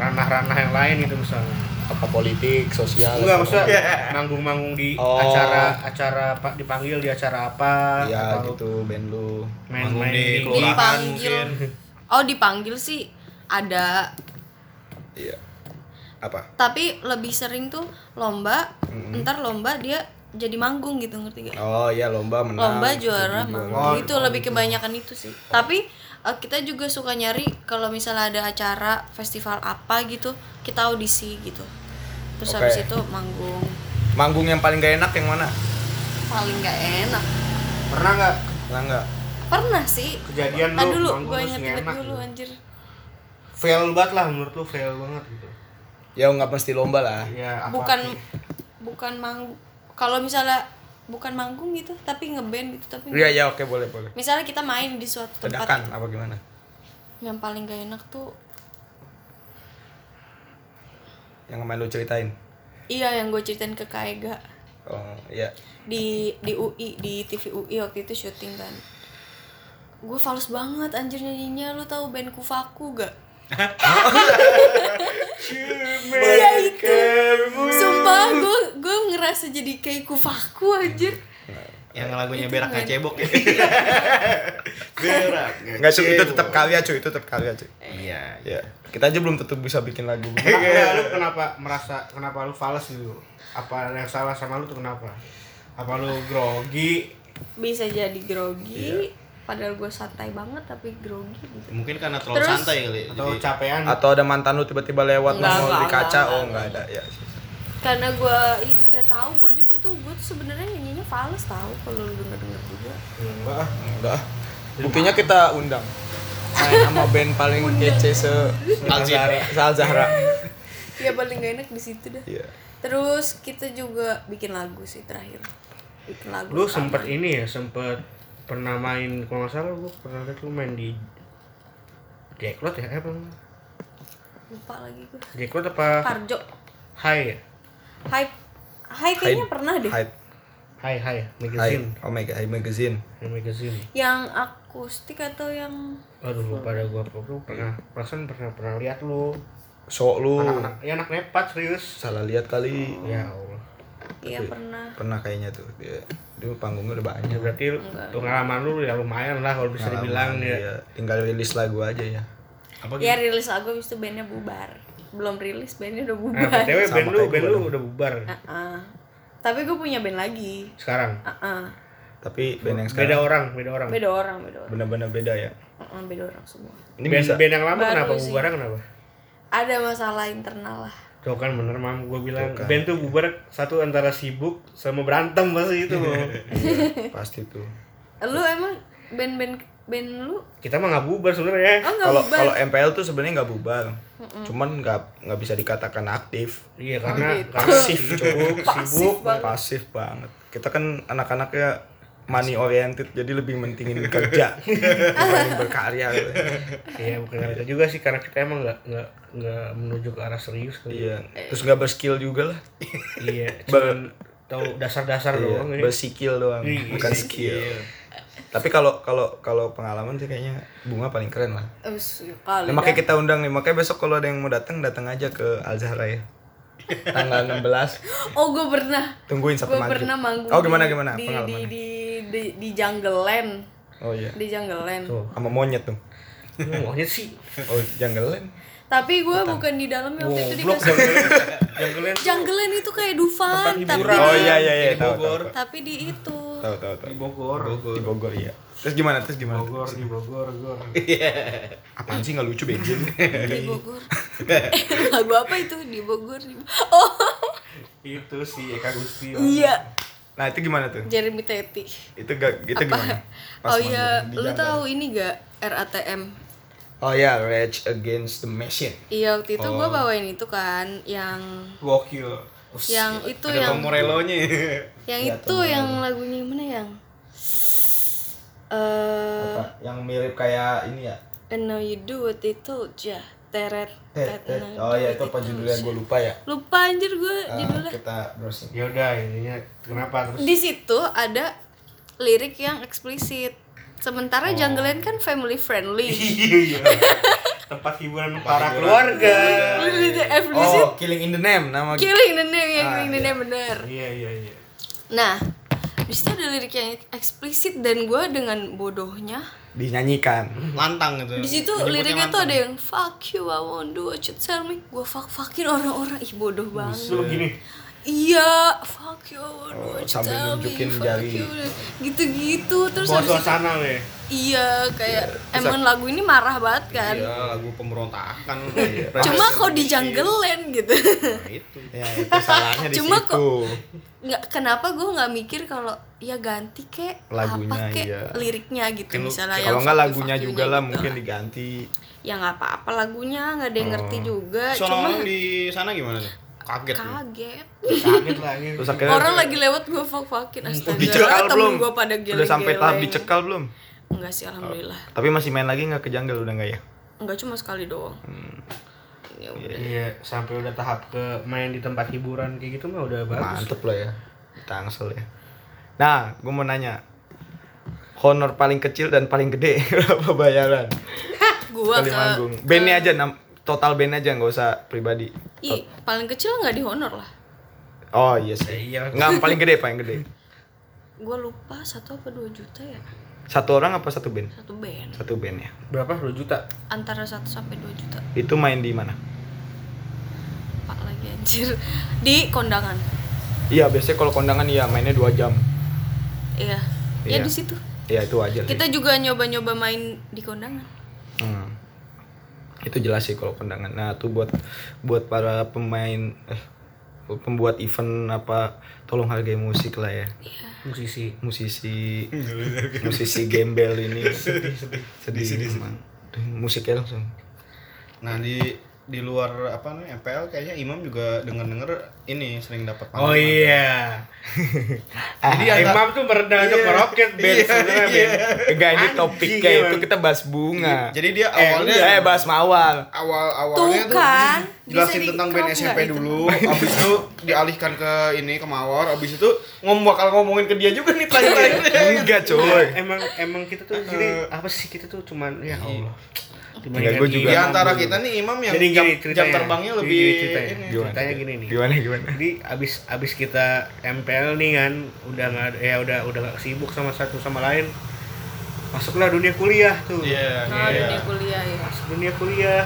C: ranah-ranah yang lain gitu misalnya
B: apa politik sosial
C: enggak maksudnya
B: ekonomi.
C: manggung-manggung di
B: Iya, Oh.
C: acara acara pak dipanggil di acara apa
B: Iya
C: atau
B: gitu band lu
D: Manggung
C: main-main
D: di
C: di
D: kelurahan
F: Dipanggil.
D: mungkin
F: oh dipanggil sih ada
B: iya apa
F: tapi lebih sering tuh lomba ntar lomba dia jadi manggung gitu ngerti gak
B: oh iya lomba
C: gitu
B: menang gitu.
F: lomba juara
B: Jadi
F: manggung
C: Oh,
F: itu lebih kebanyakan itu sih tapi eh, kita juga suka nyari kalau misalnya ada acara festival apa gitu kita audisi gitu terus
B: Oke.
F: habis itu manggung
B: manggung yang paling gak enak yang mana
F: paling nggak enak
C: pernah nggak
B: nah, enggak
F: pernah sih
C: kejadian
F: Tadi
C: lu
F: dulu
C: manggung
F: gue
C: terus
F: inget
C: nggak
F: inget
C: enak
F: dulu
C: gitu?
F: anjir
C: fail banget lah menurut lu fail banget gitu
B: ya nggak mesti lomba lah
C: ya apa
F: bukan bukan manggung kalau misalnya bukan manggung gitu tapi ngeband gitu tapi
B: iya ya oke boleh boleh
F: misalnya kita main di suatu tempat
B: ledakan apa gimana
F: yang paling gak enak tuh
B: yang kemarin lu ceritain
F: iya yang gue ceritain ke Kaega
B: oh iya
F: di di UI di TV UI waktu itu syuting kan gue fals banget anjir nyanyinya lu tahu band kufaku gak Iya itu sumpah gue gue ngerasa jadi kayak kufaku anjir
D: yang lagunya
F: Itu
D: berak
F: main.
D: cebok ya berak
B: nggak cuy itu tetap kali cuy itu tetap kali cuy
D: iya
B: ya kita aja belum tentu bisa bikin lagu
C: Enggak, lu kenapa merasa kenapa lu fals gitu? Apa ada yang salah sama lu tuh kenapa? Apa lu grogi?
F: bisa jadi
C: Iya.
F: grogi padahal gue santai banget tapi grogi gitu
D: mungkin karena terlalu
F: Terus?
D: santai kali ya,
C: Atau
D: jadi-
C: capean?
B: atau ada mantan lu tiba-tiba lewat
F: Enggak,
B: nongol di
F: enggak,
B: kaca
F: enggak,
B: oh nggak ada ya
F: karena gue nggak tahu gue juga tuh gue tuh sebenarnya nyanyinya fals tahu kalau lu denger denger juga
C: Enggak. ah.
B: enggak buktinya kita undang main sama band paling kece se
D: Al Zahra.
B: Al Zahra
F: ya paling gak enak di situ dah
B: iya
F: terus kita juga bikin lagu sih terakhir bikin lagu
C: Lu sempet ini ya, sempet pernah main kalau nggak salah lu pernah liat lu main di Jacklot ya apa?
F: lupa lagi gue
C: Jacklot apa?
F: Parjo
C: Hai ya?
F: hype hype kayaknya pernah deh
B: Hype
C: Hai Hai
B: Hype
C: magazine.
B: oh my god Hype magazine
C: Hai magazine.
F: yang akustik atau yang
C: Aduh lupa dah gua apa lu pernah perasaan pernah pernah lihat lu.
B: sok lu
C: Anak-anak ya anak nepat serius.
B: salah lihat kali
C: Ya Allah.
F: iya pernah
B: pernah kayaknya tuh dia dulu panggungnya
C: Ya
B: udah banyak
C: berarti pengalaman lu ya lumayan lah kalau bisa dibilang ya.
B: Iya, tinggal rilis lagu aja ya
C: Oh,
D: apa gitu
F: ya rilis lagu habis itu bandnya bubar belum rilis bandnya udah
C: Nah,
F: bubar
C: BTW
B: Sama
C: band lu,
B: kayak
C: band
B: gua
C: lu
B: dong.
C: udah bubar
F: Ah. tapi gue punya band lagi
C: sekarang.
F: Ah, ah.
B: tapi band yang
C: Beda
B: sekarang
C: orang, beda orang.
F: beda orang beda orang
B: bener-bener beda ya
F: Ah, ah, beda orang semua
B: ini
C: band,
B: bisa
C: band yang lama
F: Baru
C: kenapa
F: sih.
C: bubarnya kenapa?
F: ada masalah internal lah
C: Tuh kan bener mam, gue bilang
B: Tuh kan.
C: band tuh bubar satu antara sibuk sama berantem pasti itu.
B: Iya, pasti tuh
F: lu emang band band band lu
C: Kita mah nggak bubar sebenarnya.
F: oh nggak
B: kalau
F: bubar
B: kalau MPL tuh sebenarnya nggak bubar cuman nggak nggak bisa dikatakan aktif
C: Iya karena
F: Gitu.
C: karena sibuk,
F: Pasif
C: sibuk.
F: banget.
B: pasif banget kita kan anak-anaknya money oriented jadi lebih mentingin kerja dibanding berkarya gitu.
C: Iya bukan karena itu juga sih karena kita emang nggak nggak nggak menuju ke arah serius kali.
B: iya terus nggak berskill juga lah
C: Iya.
B: Ber-
C: Cuman tahu dasar-dasar
B: iya,
C: doang. ya.
B: bersikil doang
C: Iya,
B: bukan skill tapi kalau kalau kalau pengalaman sih kayaknya bunga paling keren lah
F: Us, kali
B: Nah,
F: Oh, dah.
B: makanya kita undang nih makanya besok kalau ada yang mau datang datang aja ke Al Zahra ya tanggal 16
F: oh gue pernah
B: tungguin sampai
F: gue
B: maghrib
F: pernah manggung
B: gitu. oh gimana
F: di-
B: gimana
F: di di
B: pengalaman
F: di di, di Jungle Land.
B: oh iya
F: di Jungle Land.
C: Tuh.
B: sama monyet tuh
C: Ngomongnya sih.
B: oh janggalan
F: tapi gue bukan di dalamnya waktu itu
C: Goblok
F: dikasih
C: yang kalian
F: Jungle Land itu kayak Dufan tapi
D: hiburan.
B: oh
F: di,
B: iya iya iya
D: Di
B: tahu
D: Bogor.
B: tahu
F: tapi di itu
B: tahu tahu tahu
C: di Bogor.
B: di Bogor iya terus gimana terus gimana Iya.
C: Bogor, di Bogor, Gor.
B: apaan sih nggak lucu Iya. benjir
F: di Bogor Eh, lagu apa itu di Bogor di... oh
C: Itu si Eka Gusti.
F: iya
B: nah itu gimana tuh
F: Jeremy Teti
B: itu gak itu gimana Pas
F: oh iya
B: manggung di
F: lu
B: Jungle.
F: tahu ini gak RATM
B: oh iya Rage Against the Machine
F: iya waktu itu
B: Oh.
F: gua gue bawain itu kan yang
C: Gokil.
F: yang
B: ya.
F: itu
D: ada
F: yang
D: Tom Morello-nya
F: yang
B: Iya,
F: itu yang lagunya mana yang eh
B: Apa? yang mirip kayak ini ya
F: and now you do what they told ya teret
B: Tet, tet. oh
F: now you do
B: iya
F: what
B: itu
F: they
B: apa
F: told
B: judulnya
F: ya.
B: gue lupa ya
F: lupa anjir gue
B: Ah,
F: judulnya
B: kita browsing
C: Ya udah intinya kenapa iya, terus
F: di situ ada lirik yang eksplisit.
B: Oh.
F: Sementara Jungleland kan family friendly.
A: Iya. Tempat hiburan para keluarga.
F: Eksplisit
B: Oh, Ah, Killing in the Name nama
F: killing the name, ya, killing the name bener.
A: Iya iya iya.
F: Nah, di situ ada lirik yang eksplisit dan gue dengan bodohnya
B: dinyanyikan.
D: lantang gitu
F: di situ
D: Menyebutnya
F: liriknya tuh
D: lantang.
F: ada yang fuck you I won't do what you tell me gue fuck fuckin orang-orang ih bodoh banget
A: Lu begini.
F: iya fuck you I won't do
B: Oh,
F: what you
B: sambil
F: tell me
B: nunjukin
F: fuck
B: jari.
F: you gitu-gitu terus
C: Bawa
F: habis itu-
C: suasana lu ya.
F: Iya, kayak emang lagu ini marah banget kan.
D: Iya, lagu pemberontakan
C: Iya.
F: Cuma kok di jungle-an gitu.
D: Nah, itu
B: Ya, itu salahnya di situ.
F: Cuma kok- Nggak kenapa gue nggak mikir kalau ya ganti kek
B: Lagunya,
F: apa kek
B: iya.
F: liriknya gitu
D: Kalau-
F: misalnya yang
B: Kalau nggak
F: fuck you,
B: lagunya
F: fuck
B: juga
F: you-nya
B: lah
F: gitu.
B: mungkin diganti.
F: Ya nggak apa-apa lagunya nggak ada yang ngerti
B: Oh.
F: juga. Cuma
D: Soalnya di sana gimana nih? Kaget. lu.
F: kaget.
C: Sakit lagi.
B: Terus akhirnya
F: Orang lagi lewat gue fuck fuckin astaga.
B: dicekal belum?
F: Temen gue pada geleng
B: Udah sampai tahap dicekal belum?
F: Enggak sih alhamdulillah.
B: Tapi masih main lagi nggak ke jungle udah nggak ya?
F: Enggak cuma sekali doang.
B: Hmm,
F: Ya udah.
C: Iya, sampai udah tahap ke main di tempat hiburan kayak gitu mah udah bagus.
B: Mantep lah ya. Tangsel ya. Nah, gue mau nanya. Honor paling kecil dan paling gede berapa bayaran?
F: Gue
B: Sekali
F: ke
B: manggung. Bandnya aja, nam- total band aja nggak usah pribadi.
F: Ih, paling kecil nggak dihonor lah.
B: Oh iya sih.
C: Iya.
B: Nggak paling gede paling gede.
F: gue lupa satu apa dua juta ya
B: Satu orang apa satu band?
F: satu band
B: Satu band ya.
C: Berapa? 2 juta.
F: antara satu sampai dua juta
B: Itu main di mana?
F: pak lagi anjir di kondangan
B: Iya biasanya kalau kondangan ya mainnya dua jam.
F: iya
B: Iya.
F: ya di situ
B: Ya itu wajar. sih.
F: kita juga nyoba-nyoba main di kondangan
B: Hmm. Itu jelas sih kalau kondangan. Nah, tuh buat buat para pemain eh pembuat event apa tolong hargai musik lah ya.
C: Musisi.
B: Musisi musisi gembel ini sedih sedih, emang. Aduh, Musiknya langsung.
D: Nah, di di luar apa nih MPL kayaknya Imam juga denger-denger ini sering dapat
C: Oh iya. Jadi Imam tuh merendah untuk meroket band sebenarnya band.
B: Enggak ini
C: iya. Anjing,
B: topiknya
C: gimana?
B: itu kita bahas
C: Nah,
B: bunga.
D: Jadi dia
B: eh,
D: awalnya
C: iya,
B: enggak, eh bahas mawar.
D: awal
F: tuh
D: awalnya tuh
F: kan
D: jelasin
F: Bisa
D: tentang
F: di-
D: band
F: kerap
D: SMP
F: nggak gitu? itu?
D: dulu, abis itu dialihkan ke ini ke Mawar, abis itu ngom bakal ngomongin ke dia juga nih
C: Iya,
D: tanya-tanya.
B: Enggak, coy.
C: Emang emang kita
D: Eh,
C: tuh jadi apa sih kita tuh cuman ya Allah. Cuman
B: Enggak, gua juga.
D: Di gitu. antara kita nih Imam yang
C: Jadi
D: jam,
C: gini
D: jam
C: ceritanya.
D: terbangnya
C: Jadi
D: lebih
C: gini ceritanya.
D: ini.
B: Gimana?
C: Ceritanya gini nih.
B: Gimana gimana?
C: Jadi abis abis kita MPL nih kan udah nggak ada- ya udah udah nggak sibuk sama satu sama lain. Masuklah dunia kuliah tuh.
D: Iya.
F: nah
D: iya.
F: dunia kuliah ya
C: Masuk dunia kuliah.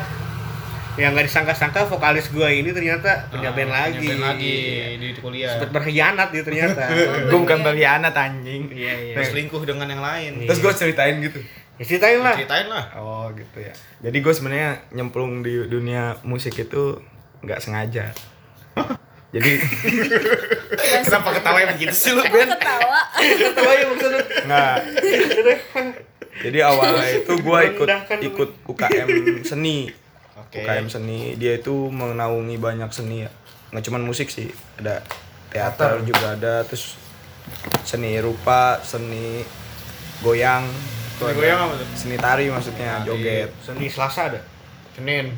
C: Yang nggak disangka-sangka vokalis gua ini ternyata punya
D: Ah,
C: band lagi. Iya.
D: punya band lagi Iya. di kuliah.
C: Sempet berkhianat dia ternyata.
B: Gue bukan
F: Iya.
B: pengkhianat anjing.
C: Iya iya.
D: Terus selingkuh dengan yang lain.
B: Terus gue ceritain gitu.
C: Ya, ceritain lah.
D: Ceritain lah.
B: Oh gitu ya. Jadi gue sebenarnya nyemplung di dunia musik itu nggak sengaja. Jadi
F: Iya,
D: Kenapa ketawanya begitu sih lu,
F: Kok ketawa
C: Ketawa ya maksudnya.
B: nggak. Jadi awalnya itu gue ikut
C: Merendahkan lu.
B: ikut UKM seni.
D: kan Oke.
B: UKM seni dia itu menaungi banyak seni ya. Nggak cuma musik sih, ada teater juga ada, terus seni rupa, seni goyang, itu
D: Seni
B: ada.
D: goyang apa tuh?
B: Seni tari maksudnya,
D: Tari.
B: joget.
C: Seni Selasa ada.
D: Senin.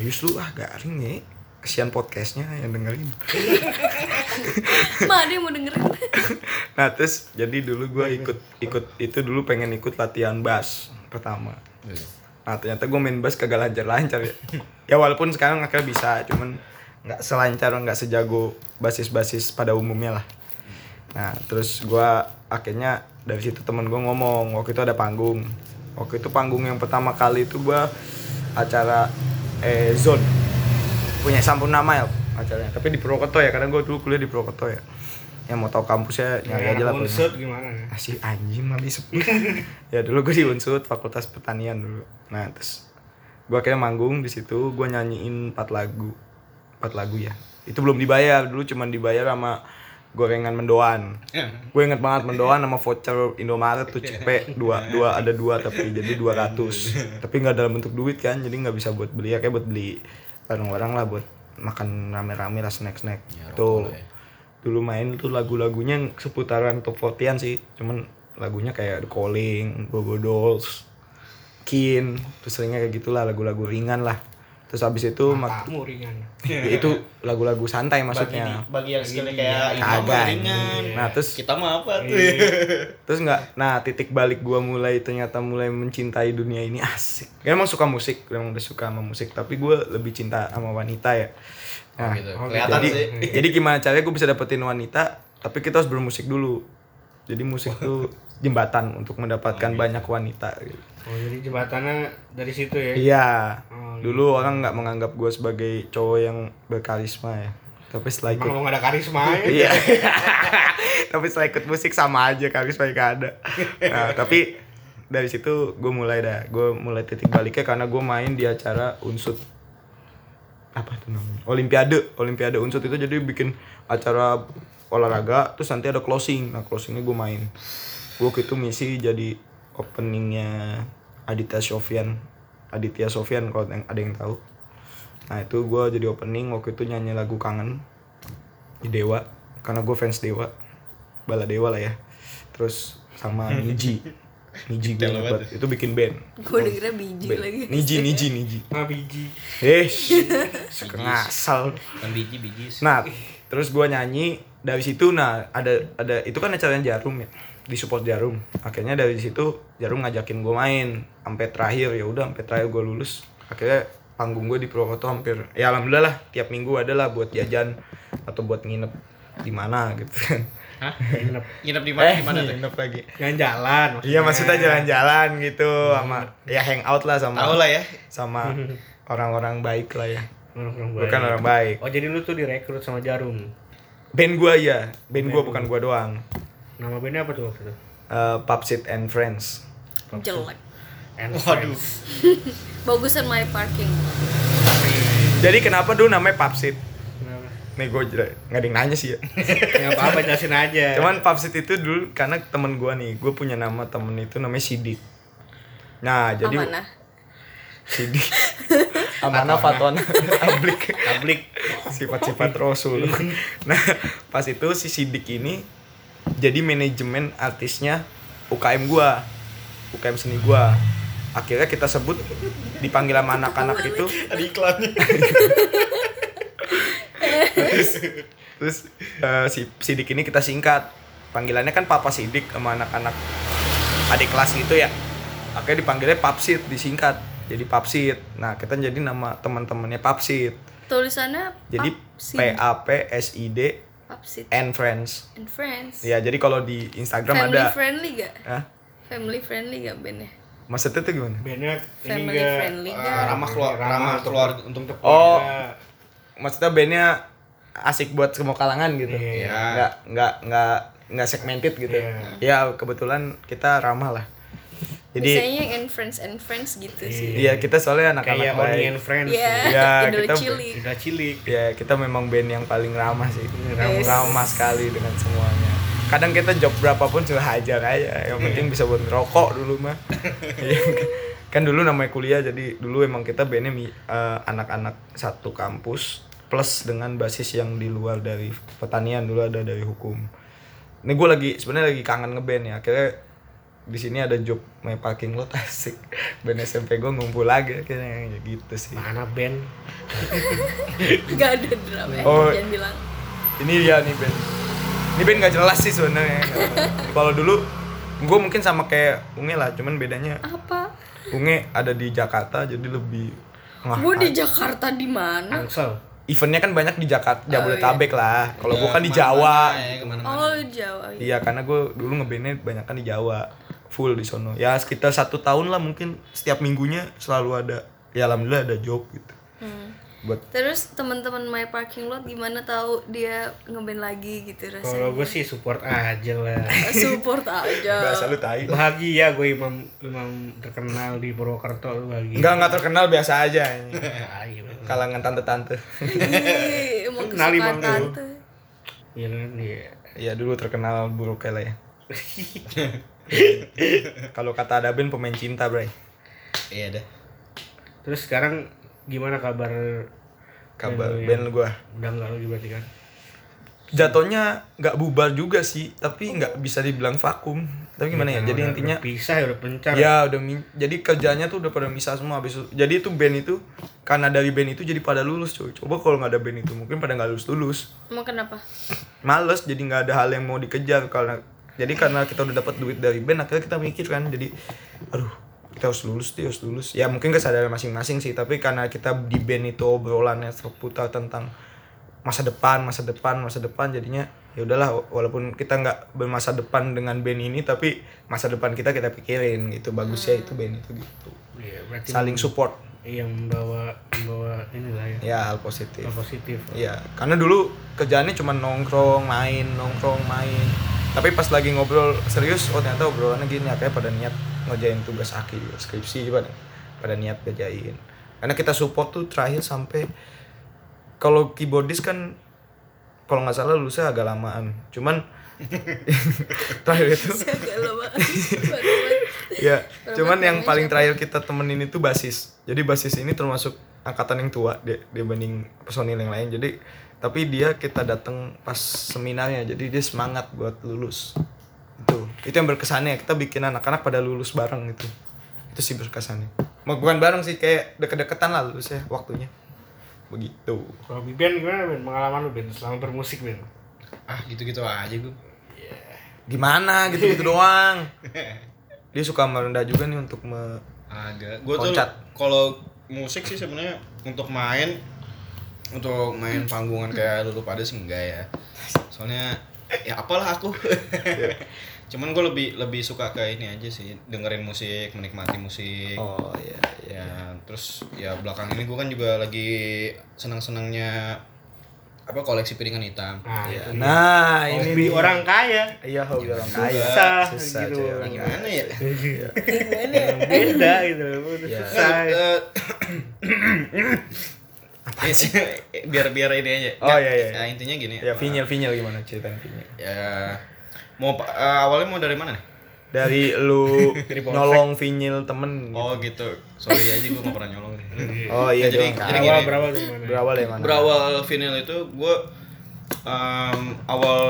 B: Ayus lu ah garing ya kesian podcastnya yang dengerin
F: ma ada yang mau dengerin
B: nah terus jadi dulu gue ikut ikut itu dulu pengen ikut latihan bass pertama nah ternyata gue main bass kagak lancar lancar ya ya walaupun sekarang akhirnya bisa cuman nggak selancar nggak sejago basis basis pada umumnya lah nah terus gue akhirnya dari situ temen gue ngomong waktu itu ada panggung waktu itu panggung yang pertama kali itu gue acara eh zone punya Sampurna Mile acaranya tapi di Purwokerto ya karena gue dulu kuliah di Purwokerto ya yang mau tahu kampusnya
C: Ya,
B: nyari Ya, aja lah pokoknya.
C: Unsut gimana ya?
B: Ah, si anjing malah disebut ya dulu gue di Unsud Fakultas Pertanian dulu nah terus gue akhirnya manggung di situ gue nyanyiin empat lagu empat lagu ya itu belum dibayar dulu cuman dibayar sama gorengan mendoan gue inget banget mendoan sama voucher Indomaret tuh CP dua dua ada dua tapi jadi 200 tapi nggak dalam bentuk duit kan jadi nggak bisa buat beli ya kayak buat beli barang-barang lah buat makan rame-rame lah snack-snack tuh dulu main tuh lagu-lagunya yang seputaran top 40 sih cuman lagunya kayak The Calling, Gogo Dolls, Kin, terus seringnya kayak gitulah lagu-lagu ringan lah terus abis itu mak-
C: Kamu ringan.
D: Iya.
B: itu lagu-lagu santai
D: bagi, di-
B: maksudnya
D: bagi yang skillnya kayak imam
B: Kagak.
D: ringan
C: iya.
D: Gitu.
B: nah terus
D: kita mah apa tuh
B: terus nggak nah titik balik gua mulai ternyata mulai mencintai dunia ini asik Gua emang suka musik gua emang udah suka sama musik tapi gua lebih cinta sama wanita ya
C: Ah,
B: nah
D: gitu.
C: oh,
D: Kelihatan
B: jadi
D: sih.
B: jadi gimana caranya gua bisa dapetin wanita tapi kita harus bermusik dulu jadi musik tuh jembatan untuk mendapatkan banyak wanita gitu.
C: Oh, jadi jembatannya dari situ ya.
B: iya
C: Oh,
B: dulu orang nggak menganggap gua sebagai cowok yang berkarisma ya tapi setelah ikut
C: Emang lu gak ada karisma ya?
B: Iya. tapi setelah ikut musik sama aja karisma gak ada. Nah, tapi dari situ gue mulai dah, gue mulai titik baliknya karena gue main di acara unsut apa tuh namanya? Olimpiade, Olimpiade unsut itu jadi bikin acara olahraga, terus nanti ada closing. Nah closingnya gue main. Gue itu misi jadi openingnya Aditya Sofian, Aditya Sofian kalau yang- ada yang tahu. Nah itu gue jadi opening waktu itu nyanyi lagu kangen di Dewa karena gue fans Dewa bala Dewa lah ya terus sama Niji Niji gue nyebat itu bikin band
F: gue dengernya biji
B: Band.
F: lagi
B: Niji Niji Niji
C: Nah, biji.
B: eh suka ngasal
D: kan biji biji
B: nah terus gue nyanyi dari situ nah ada ada itu kan acaranya Jarum ya di support Jarum akhirnya dari situ Jarum ngajakin gue main sampai terakhir ya udah sampai terakhir gue lulus akhirnya panggung gue di Purwokerto hampir ya alhamdulillah lah tiap minggu ada lah buat jajan atau buat nginep di mana gitu kan
C: Nginep.
D: nginep di mana di mana
B: Eh,
D: tuh
B: nginep lagi
C: Jangan jalan.
B: Iya maksudnya jalan-jalan gitu sama ya hangout lah sama
D: tahu lah ya
B: sama orang-orang baik lah ya.
C: Orang-orang baik.
B: Bukan orang baik.
C: Oh, jadi lu tuh direkrut sama Jarum.
B: Band gua ya, band gua bukan gua doang.
C: Nama bandnya apa tuh waktu itu?
B: Eh Pupsit and Friends.
F: jelek
C: And
D: waduh
F: bagusan my parking
B: Jadi kenapa dulu namanya Pupsit?
C: Kenapa?
B: Nih gua jela- nggak ada yang nanya sih ya.
C: Ya apa-apa jelasin aja.
B: Cuman Pupsit itu dulu karena temen gua nih, gua punya nama temen itu namanya Sidik. Nah, jadi
F: amanah
B: Sidik. Amanah Fatona Ablik.
C: Publik.
B: sifat-sifat Rasul. Nah, pas itu si Sidik ini jadi manajemen artisnya UKM gua. UKM seni gua. Akhirnya kita sebut dipanggil sama anak-anak itu
D: ada iklannya
B: terus eh, si Sidik ini kita singkat. Panggilannya kan Papa Sidik sama anak-anak adik kelas gitu ya. Akhirnya dipanggilnya Papsit disingkat. Jadi Papsit. Nah, kita jadi nama teman-temannya Papsit.
F: tulisannya
B: Jadi
F: Papsid.
B: P A P S I D
F: Papsid
B: and Friends.
F: and friends
B: Ya, jadi kalau di Instagram
F: family
B: ada
F: friendly gak
B: Hah?
F: family friendly gak ya? bandnya
B: Maksudnya tuh gimana?
C: Bandnya ini
F: family
C: enggak
F: friendly
D: Eh,
F: gak
D: ramah keluar ramah keluarga untuk
B: Oh, maksudnya bandnya asik buat semua kalangan gitu.
C: Iya.
B: Nggak nggak nggak nggak segmented gitu. Ya kebetulan kita ramah lah. Jadi
F: biasanya yang and friends and friends gitu sih
B: ya kita soalnya anak-anak
C: kayak Oni and
B: baik.
C: Friends.
F: ya
B: Ya,
F: idola
B: kita-
F: cilik
C: Tidak cilik.
B: Ya kita memang band yang paling ramah sih.
F: Yes.
B: Ramah sekali dengan semuanya. Kadang kita job berapapun sudah hajar aja. Yang penting bisa buat ngerokok dulu mah. Iya, kan? kan dulu namanya kuliah jadi dulu emang kita bandnya mi- eh, anak-anak satu kampus plus dengan basis yang di luar dari pertanian dulu ada dari hukum. Ini gue lagi sebenarnya lagi kangen ngeband ya. Akhirnya di sini ada job main parking lot asik. Band SMP gue ngumpul lagi akhirnya Ya gitu sih.
C: Mana band?
F: gak ada drama ya
B: Oh.
F: jangan bilang
B: ini dia nih Ben ini Ben nggak jelas sih sebenarnya kalau dulu gue mungkin sama kayak Unge lah cuman bedanya
F: apa
B: Unge ada di Jakarta jadi lebih Wah, ah.
F: gue di Jakarta di mana
C: Angsel.
B: eventnya kan banyak di Jakarta Jabodetabek lah kalau
D: Iya,
B: gue kan di Jawa
D: eh,
F: oh Jawa ya.
B: Ah. iya karena gue dulu ngebandnya banyak kan di Jawa full di sono ya sekitar satu tahun lah mungkin setiap minggunya selalu ada ya alhamdulillah ada job gitu
F: Hmm.
B: buat
F: terus teman-teman my parking lot gimana tahu dia ngeband lagi gitu rasanya Eh,
C: Kalau gue sih support aja lah.
F: support aja
B: bahasa lu tai
C: Bahagia gue imam imam terkenal di Purwokerto lu bahagia.
B: Enggak, enggak terkenal biasa aja
C: Ah, iya.
B: kalangan tante-tante
F: Ih, emang
C: Kenal imam
F: kesukaan
C: dulu.
F: tante
C: Iya kan iya.
B: Iya dulu terkenal buruknya lah ya. Kalau kata ada band pemain cinta, Bray.
D: iya dah
C: Terus sekarang gimana kabar?
B: Kabar
D: Iya,
C: Band lu
B: band gua.
C: Udah enggak lagi berarti kan?
B: Jatuhnya nggak bubar juga sih, tapi nggak bisa dibilang vakum. tapi gimana ya jadi intinya
D: Iya, Udah pisah ya udah pencar.
B: ya udah min- jadi kerjanya tuh udah pada misah semua habis itu- jadi itu band itu karena dari band itu jadi pada lulus coy coba kalau nggak ada band itu mungkin pada nggak lulus lulus
F: Emang kenapa?
B: males jadi nggak ada hal yang mau dikejar karena jadi karena kita udah dapat duit dari band akhirnya kita mikir kan jadi aduh kita harus lulus dia harus lulus ya mungkin kesadaran masing-masing sih tapi karena kita di band itu obrolannya terputar tentang masa depan masa depan masa depan jadinya ya udahlah wa- walaupun kita nggak bermasa depan dengan band ini tapi masa depan kita kita pikirin gitu bagus ya itu band itu gitu
D: Iya, berarti
B: saling support
C: iya,
D: yang membawa membawa inilah ya.
B: ya hal positif
D: yang positif.
B: Iya, karena dulu kerjaannya cuma nongkrong, main, nongkrong, main. Tapi pas lagi ngobrol serius, oh ternyata obrolannya gini, akhirnya pada niat ngerjain tugas akhir, skripsi pada pada niat kerjain. Karena kita support tuh terakhir sampai kalau keyboardis kan kalau nggak salah lulusnya agak lamaan. Cuman terakhir itu
F: Agak lama.
B: ya cuman yang paling terakhir kita temenin itu basis jadi basis ini termasuk angkatan yang tua dia dibanding personil yang lain jadi tapi dia kita datang pas seminarnya jadi dia semangat buat lulus itu itu yang berkesannya kita bikin anak-anak pada lulus bareng itu itu sih berkesannya Mau bukan bareng sih kayak deket-deketan lah lulusnya waktunya begitu
C: Kalau di band gimana Ben? Pengalaman lu Ben selama bermusik Ben?
D: Ah, gitu-gitu aja gue.
B: gimana gitu gitu doang dia suka merendah juga nih untuk me
D: Ada. Gue tuh
B: Loncat.
D: kalau musik sih sebenarnya untuk main untuk main panggungan kayak Lulu pada sih enggak ya. Soalnya ya apalah aku. Cuman gue lebih lebih suka ke ini aja sih, dengerin musik, menikmati musik.
B: oh iya
D: Ya, terus ya belakang ini gue kan juga lagi senang-senangnya apa koleksi piringan hitam.
C: Nah,
B: iya. nah ini
C: hobi
B: nih.
C: orang kaya.
B: Iya hobi orang
D: Susah,
B: kaya.
C: Susah,
B: Susah Iya.
C: gitu.
B: cewek orang kaya.
D: Gimana ya?
C: Yang beda gitu loh.
B: Ya.
C: Susah.
D: Eh, Apa sih? biar biar ini aja.
B: Oh, iya, iya.
D: Nah, intinya gini.
B: Ya
D: eh,
B: Vinyl, Vinyl gimana ceritanya Vinyl?
D: ya mau pa- eh, awalnya mau dari mana nih?
B: Dari lu
D: Dari Polsek.
B: nolong Vinyl temen gitu.
D: Oh gitu. Sorry aja gue gak pernah nyolong.
B: Oh iya
D: Ya,
B: doang
D: jadi-
B: kan.
D: jadi
C: Awal
D: gini.
C: berapa tuh gimana?
B: Berawal dari mana?
D: Berawal vinyl itu gue em, awal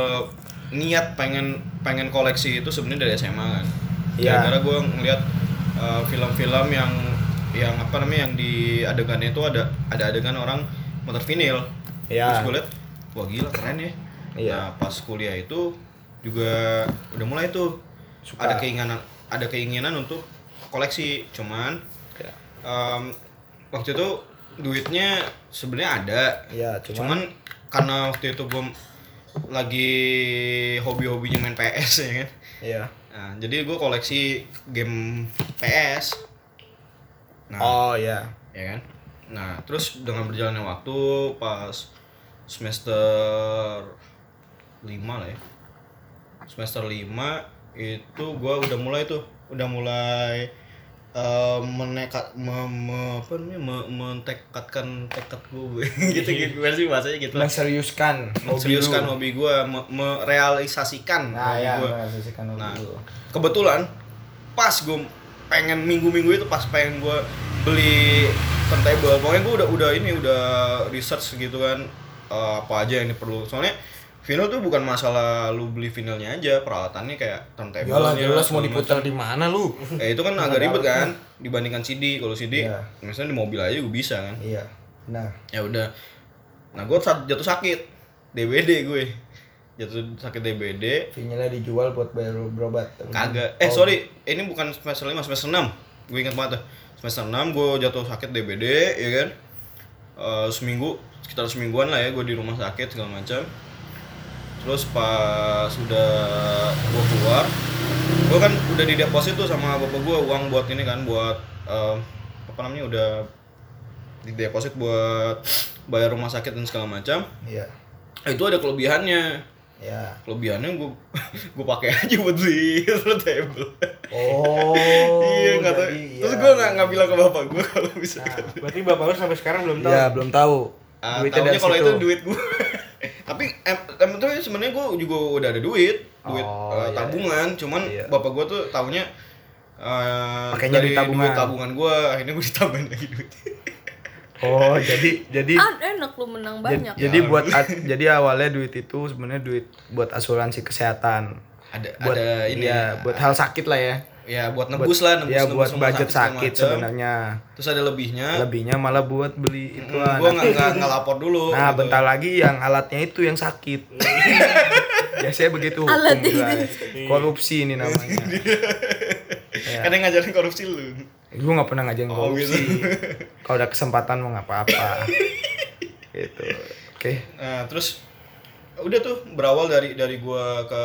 D: niat pengen pengen koleksi itu sebenarnya dari SMA kan.
B: Iya.
D: Gara-gara gue ngeliat eh, film-film yang yang apa namanya yang di adegannya itu ada ada adegan orang muter vinyl.
B: Iya.
D: Terus gue liat, wah gila keren ya.
B: Iya.
D: Nah pas kuliah itu juga udah mulai tuh
B: Suka.
D: ada keinginan ada keinginan untuk koleksi cuman
B: Ya.
D: em, waktu itu duitnya sebenarnya ada
B: Iya,
D: cuman,
B: cuman,
D: karena waktu itu gue lagi hobi-hobinya main PS ya kan
B: iya.
D: nah, jadi gue koleksi game PS nah
B: Oh iya.
D: ya kan nah terus dengan berjalannya waktu pas semester 5 lah ya semester 5 itu gua udah mulai tuh udah mulai eh, menekat me, me- apa namanya me- mentekatkan tekad gue gitu gitu gimana sih bahasanya gitu lah
B: Menseriuskan
D: seriuskan
B: lu.
D: kan hobi gue merealisasikan
B: Nah,
D: hobi
B: ya,
D: gua
B: menseriuskan hobi
D: Nah.
B: lu.
D: kebetulan pas gue pengen minggu-minggu itu pas pengen gue beli turntable pokoknya gue udah udah ini udah research gitu kan eh, apa aja yang perlu soalnya vinyl tuh bukan masalah lu beli vinylnya aja peralatannya kayak turntable
B: Iyalah Iya jelas mau diputar di mana lu?
D: eh itu kan agak ribet kan dibandingkan CD kalau CD
B: Iya.
D: misalnya di mobil aja gue bisa kan
B: Iya. Nah,
D: ya udah nah gue jatuh sakit DBD gue jatuh sakit DBD
B: vinylnya dijual buat bayar lu berobat.
D: Kagak. Eh
B: Oh,
D: sorry, ini bukan semester 5, semester 6. Gue ingat banget tuh. Semester 6 gue jatuh sakit DBD, ya kan? Eh, seminggu, sekitar semingguan lah ya gue di rumah sakit segala macam. Terus pas udah gue keluar, gue kan udah di deposit tuh sama bapak gue uang buat ini kan, buat eh, apa namanya udah di deposit buat bayar rumah sakit dan segala macam.
B: Iya.
D: Eh, itu ada kelebihannya.
B: Ya.
D: Kelebihannya gue gue pakai aja buat beli table.
B: Oh.
D: iya nggak tahu.
B: jadi, iya. Nah,
D: Terus gue nggak nggak bilang ke bapak gue kalau misalkan.
C: Berarti bapak lu sampai sekarang belum tahu.
B: Iya, belum tahu.
D: Ah,
B: Duitnya
D: taunya
B: dari
D: kalau itu
B: situ.
D: duit gue. Tapi em, em itu sebenarnya gue juga udah ada duit, duit
B: Oh,
D: eh,
B: iya,
D: tabungan. Cuman
B: Iya.
D: bapak gue tuh taunya eh,
B: Pakainya
D: dari
B: duit tabungan.
D: duit tabungan gue, akhirnya gue ditambahin lagi duit.
B: Oh, jadi jadi
F: Ah, enak lu menang
B: Jad-
F: banyak.
B: Jadi buat at- jadi awalnya duit itu sebenarnya duit buat asuransi kesehatan.
D: ada
B: buat
D: ada ini
B: ya,
D: ya
B: buat hal sakit lah ya
D: ya buat nebus lah nebus
B: ya
D: nebus
B: buat
D: rumah
B: budget
D: segala
B: sakit
D: macem.
B: sebenarnya
D: terus ada lebihnya
B: lebihnya malah buat beli itu
D: Hmm, gua nggak nggak nggak lapor dulu
B: nah
D: gitu.
B: bentar lagi yang alatnya itu yang sakit biasanya begitu hukum
F: Alatnya itu
B: guys. korupsi ini namanya
D: Karena
B: iya.
D: yang ngajarin korupsi lu
B: gue nggak pernah ngajarin
D: Oh,
B: korupsi
D: gitu.
B: kalau ada kesempatan mau ngapa-apa gitu oke
D: Nah, terus udah tuh berawal dari dari gua ke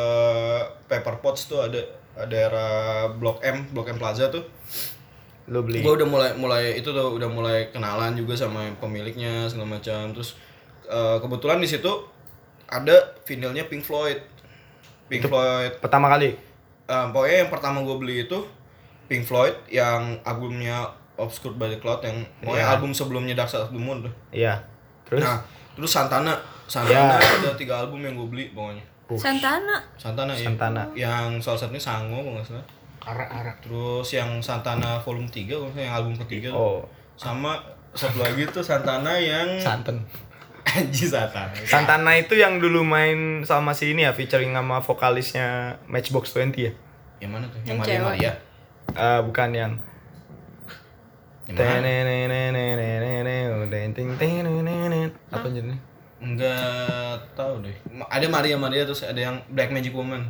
D: Paper Pots tuh ada ada daerah Blok M, Blok M Plaza tuh.
B: lo beli
D: Gua udah mulai mulai itu tuh udah mulai kenalan juga sama pemiliknya segala macam. Terus eh, kebetulan di situ ada vinilnya Pink Floyd. Pink Floyd
B: pertama kali
D: Eh, pokoknya yang pertama gue beli itu Pink Floyd yang albumnya Obscured by the Cloud yang
B: Iya.
D: pokoknya album sebelumnya Dark Side of the Moon tuh.
B: Iya. Terus
D: Nah, terus Santana.
B: Iya.
D: Santana ada tiga album yang gue beli pokoknya.
B: Push.
F: Santana
D: Santana, ya.
B: Santana.
D: Yang salah satunya Sango kalau nggak salah.
C: Arak-arak.
D: Terus yang Santana volume 3 kalau nggak salah, yang album ketiga
B: Oh,
D: tuh. Sama satu lagi tuh Santana yang
B: Santen.
D: Anji Santana.
B: Santana itu yang dulu main sama si ini ya featuring sama vokalisnya Matchbox 20 ya.
D: Yang mana tuh?
F: Yang
D: Yang, Maria
F: cewek.
D: Maria.
B: Eh bukan yang
D: Yang mana?
B: oh, Tenenenenenenenenenenenen. apa jadinya?
D: Enggak tahu deh. Ma- Ada Maria Maria terus ada yang Black Magic Woman.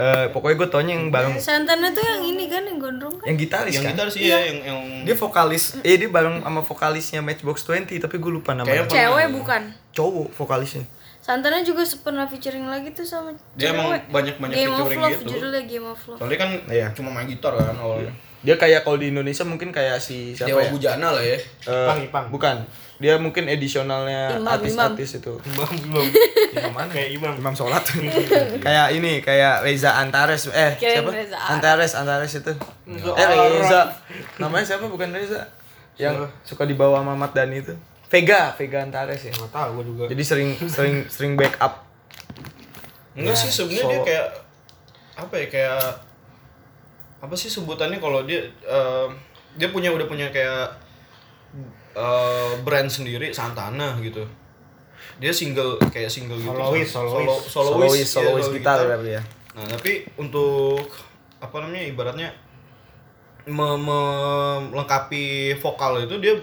B: Eh pokoknya gue taunya yang bareng
F: Santana tuh yang ini kan yang gondrong kan
B: yang gitaris
D: yang
B: kan.
D: gitar
F: Iya.
D: sih ya, yang yang
B: Dia vokalis, eh dia bareng sama vokalisnya Matchbox 20 tapi gue lupa namanya.
D: Kayaknya-
F: cewek bukan
B: Cowok vokalisnya.
F: Santana juga se- pernah featuring lagi tuh sama
D: dia emang
F: cewek.
D: banyak-banyak
F: Game of
D: featuring
F: Love
D: gitu.
F: judulnya Game of Love
D: Soalnya kan
B: Iya.
D: cuma main gitar kan awalnya.
B: Dia kayak kalau di Indonesia mungkin kayak si siapa
D: Dewa
B: ya?
D: Bujana lah ya.
B: Eh,
C: Ipang, Ipang.
B: Bukan. Dia mungkin edisionalnya
F: Imam,
B: artis-artis itu.
C: Imam belum.
B: Imam mana?
C: Kayak imam.
B: Imam sholat kayak ini kayak Reza Antares eh
F: Kirain
B: siapa
F: Reza Arab.
B: Antares Antares itu
C: Reza
B: eh Reza namanya siapa bukan Reza yang suka dibawa sama Ahmad Dhani itu Vega Vega Antares ya
C: Enggak tahu gua juga.
B: jadi sering sering sering backup
D: Enggak sih sebenarnya dia
B: so-
D: kayak apa ya kayak apa sih sebutannya kalau dia eh, dia punya udah punya kayak eh, brand sendiri Santana gitu. Dia single kayak single gitu.
C: Solois,
D: solo,
C: solois.
D: solois,
B: solois
D: iya,
B: solois
D: solo
B: gitar berarti ya
D: Nah, tapi untuk apa namanya ibaratnya me- me- melengkapi vokal itu dia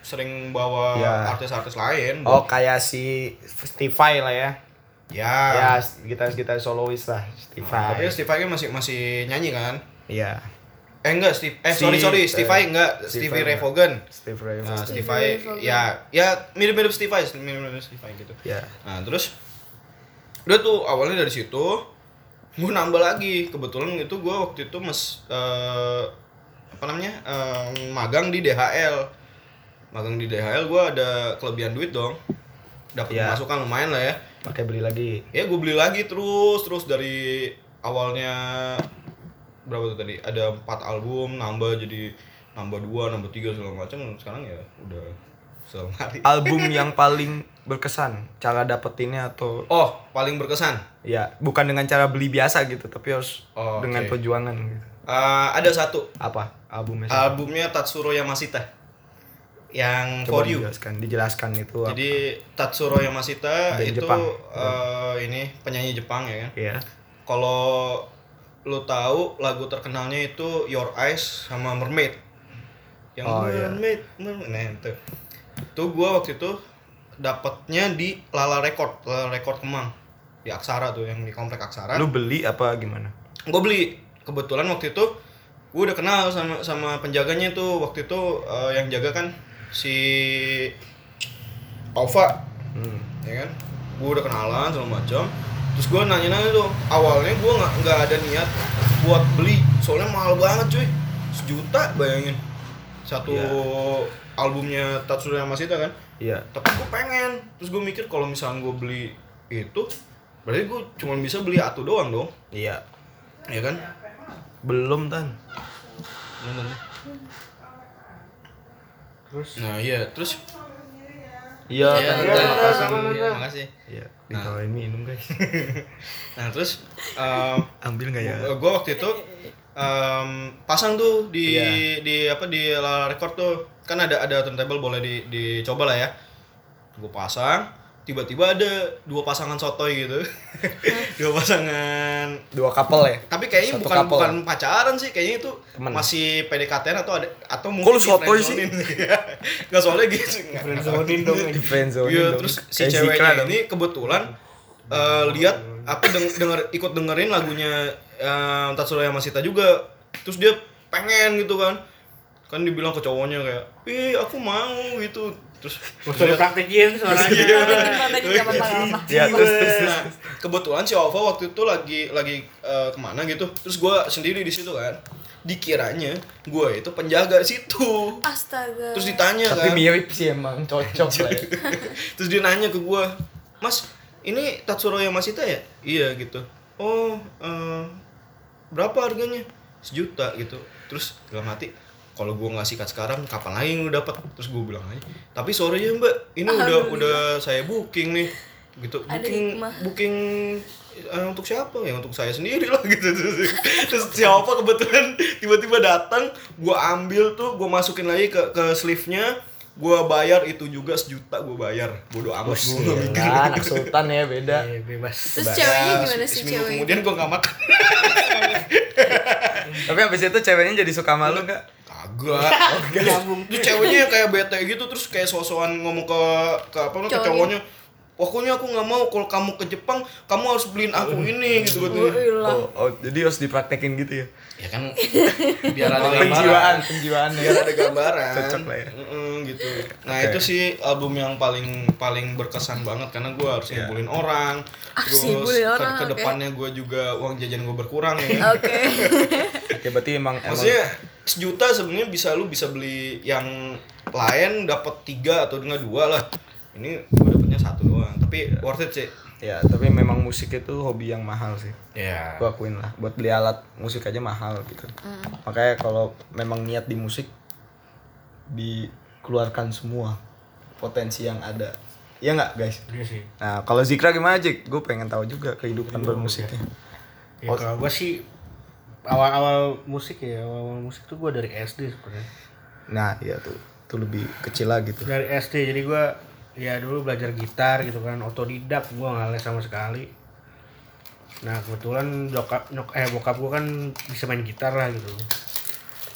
D: sering bawa
B: Ya.
D: artis-artis lain.
B: oh kayak si Stevie lah ya ya
C: Ah.
D: Ya.
B: gitaris gitaris solois lah
D: Tapi
B: Stevie
D: Steve Vai kan masih masih nyanyi kan?
B: ya
D: Eh enggak, Steve eh
B: Si-
D: sorry sorry, Steve Vai
B: eh,
D: enggak,
B: Steve
D: Stevie
B: Vai
D: Ray Vaughan.
B: Oh, Steve
C: Ah.
B: Ray
D: Nah,
B: Vaughan.
D: Steve Vai ya ya mirip-mirip Steve Vai, mirip-mirip Steve Vai gitu.
B: ya
D: Nah, terus udah tuh awalnya dari situ gue nambah lagi kebetulan itu gue waktu itu mas eh, apa namanya eh, magang di DHL magang di DHL gue ada kelebihan duit dong dapat
B: Iya.
D: masukan lumayan lah ya
B: pakai beli lagi
D: ya gue beli lagi terus terus dari awalnya berapa tuh tadi ada empat album nambah jadi nambah dua nambah tiga segala macam sekarang ya udah sehari
B: album yang paling berkesan cara dapetinnya atau
D: oh paling berkesan
B: ya bukan dengan cara beli biasa gitu tapi harus
D: Oh,
B: dengan
D: oke.
B: perjuangan gitu
D: eh, ada satu
B: apa albumnya sih?
D: albumnya Tatsuro Yamashita yang
B: Coba
D: For You.
B: dijelaskan dijelaskan itu apa.
D: Jadi Tatsuro Yamashita
B: Dari
D: itu
B: Jepang.
D: eh, ini penyanyi Jepang ya kan.
B: ya
D: Kalau lu tahu lagu terkenalnya itu Your Eyes sama Mermaid. Yang
B: Oh, iya.
D: Mermaid, Mermaid. Nah, itu. Itu gua waktu itu dapatnya di Lala Record, Lala Record Kemang. Di Aksara tuh yang di komplek Aksara.
B: lu beli apa gimana
D: gue beli kebetulan waktu itu gue udah kenal sama sama penjaganya tuh waktu itu eh, yang jaga kan si Alfa
B: hmm.
D: ya kan gue udah kenalan segala macam terus gue nanya nanya tuh awalnya gue nggak nggak ada niat buat beli soalnya mahal banget cuy sejuta bayangin satu
B: Iya.
D: albumnya Tatsuya Masita kan
B: ya
D: tapi gue pengen terus gue mikir kalau misalnya gue beli itu berarti gue cuma bisa beli atu doang dong
B: iya
D: ya kan
B: belum tan
D: Bener.
C: Terus
D: Nah iya, terus
B: iya
D: Iya,
B: Tan.
D: iya,
B: Tan.
D: lepasin. Iya, makasih.
B: iya ditawarin minum guys
D: Nah terus em,
B: ambil nggak ya
D: Eh, gua gue waktu itu em, pasang tuh di
B: Iya.
D: di apa di Lala record tuh kan ada ada turntable boleh di dicoba lah ya. Gue pasang, tiba-tiba ada dua pasangan sotoy gitu dua pasangan
B: dua couple ya
D: tapi kayaknya
B: Satu
D: bukan
B: couple.
D: bukan pacaran sih kayaknya itu
B: Temen.
D: masih PDKT atau ada atau
B: lu
D: mungkin di
B: sotoy
D: friendzone-in.
B: sih?
D: nggak soalnya gitu nggak- nggak tahu.
C: Friendzonin dong.
B: di friendzone
D: Iya,
B: dong.
D: terus si
B: Kayak
D: ceweknya
B: Zikra dong.
D: ini kebetulan eh, lihat apa deng- denger ikut dengerin lagunya eh, Tatsuya Masita juga. Terus dia pengen gitu kan. Kan dibilang ke cowoknya kayak, "Ih, aku mau" gitu. Terus
C: Maksudnya praktekin
F: Iya.
C: suaranya.
F: Gak apa-apa, gak apa-apa.
B: Iya, terus terus terus.
D: Nah, kebetulan si Ova waktu itu lagi lagi eh, kemana gitu. Terus gua sendiri di situ kan. Dikiranya gua itu penjaga situ.
F: Astaga.
D: Terus ditanya
B: tapi
D: kan. Iya,
B: mirip sih emang cocok lah ya.
D: Terus dia nanya ke gua, Mas, ini Tatsuro yang Masita ya? Iya gitu. Oh, eh, berapa harganya? Sejuta gitu. Terus dalam hati, kalau gua nggak sikat sekarang, kapan lagi lu dapat? Terus gua bilang aja. Tapi sorry ya Mbak, ini udah udah saya booking nih. Gitu.
F: Ada
D: Booking
F: hikmah.
D: booking eh, untuk siapa? Ya untuk saya sendiri lah gitu. Terus, terus siapa kebetulan tiba-tiba datang, gua ambil tuh, gua masukin lagi ke ke sleeve-nya, gua bayar itu juga sejuta gua bayar. Bodoh amat gua nggak mikir.
B: Nah, anak sultan ya beda.
C: Iya, bebas.
F: Terus
D: Nah,
F: ceweknya gimana
D: se-
F: sih
D: seminggu
F: ceweknya?
D: Kemudian gua nggak makan.
B: Tapi abis itu ceweknya jadi suka malu nggak?
D: Kagak. Itu ceweknya yang kayak bete gitu terus kayak sosokan ngomong ke ke apa namanya, ke
F: Cowoknya.
D: cowoknya. Pokoknya aku nggak mau kalau kamu ke Jepang, kamu harus beliin aku ini gitu gitu.
F: Wailah.
B: Oh, oh, jadi harus dipraktekin gitu ya.
D: Ya kan biar ada gambaran.
B: Penjiwaan, penjiwaan
D: Biar
B: ya.
D: ada gambaran.
B: Cocok lah ya.
D: Mm-mm, gitu. Nah,
B: Oke.
D: itu sih album yang paling paling berkesan banget karena gue harus ngumpulin orang. Terus
F: Ah, ngumpulin
D: ke,
F: orang,
D: ke
F: oke.
D: depannya gue juga uang jajan gue berkurang ya. kan?
F: Oke.
B: Oke, berarti emang emang
D: Maksudnya sejuta sebenarnya bisa lu bisa beli yang lain dapat tiga atau enggak dua lah. Ini gue dapetnya satu doang, tapi worth it sih.
B: ya, tapi memang musik itu hobi yang mahal sih.
C: Iya,
D: Ya.
B: Gua akuin lah, buat beli alat musik aja mahal gitu. Makanya kalau memang niat di musik dikeluarkan semua potensi yang ada. Iya nggak guys?
C: Iya sih.
B: Nah, kalau Zikra gimana, Jik? Gue pengen tahu juga kehidupan bermusiknya.
C: Ya, kalau gue sih awal-awal musik ya, awal-awal musik tuh gue dari SD sebenarnya.
B: Nah, iya tuh. Tuh lebih kecil gitu. lagi tuh.
C: Dari SD jadi gue ya dulu belajar gitar gitu kan, otodidak gue nggak les sama sekali. Nah kebetulan bokap nyok eh bokap gue kan bisa main gitar lah gitu.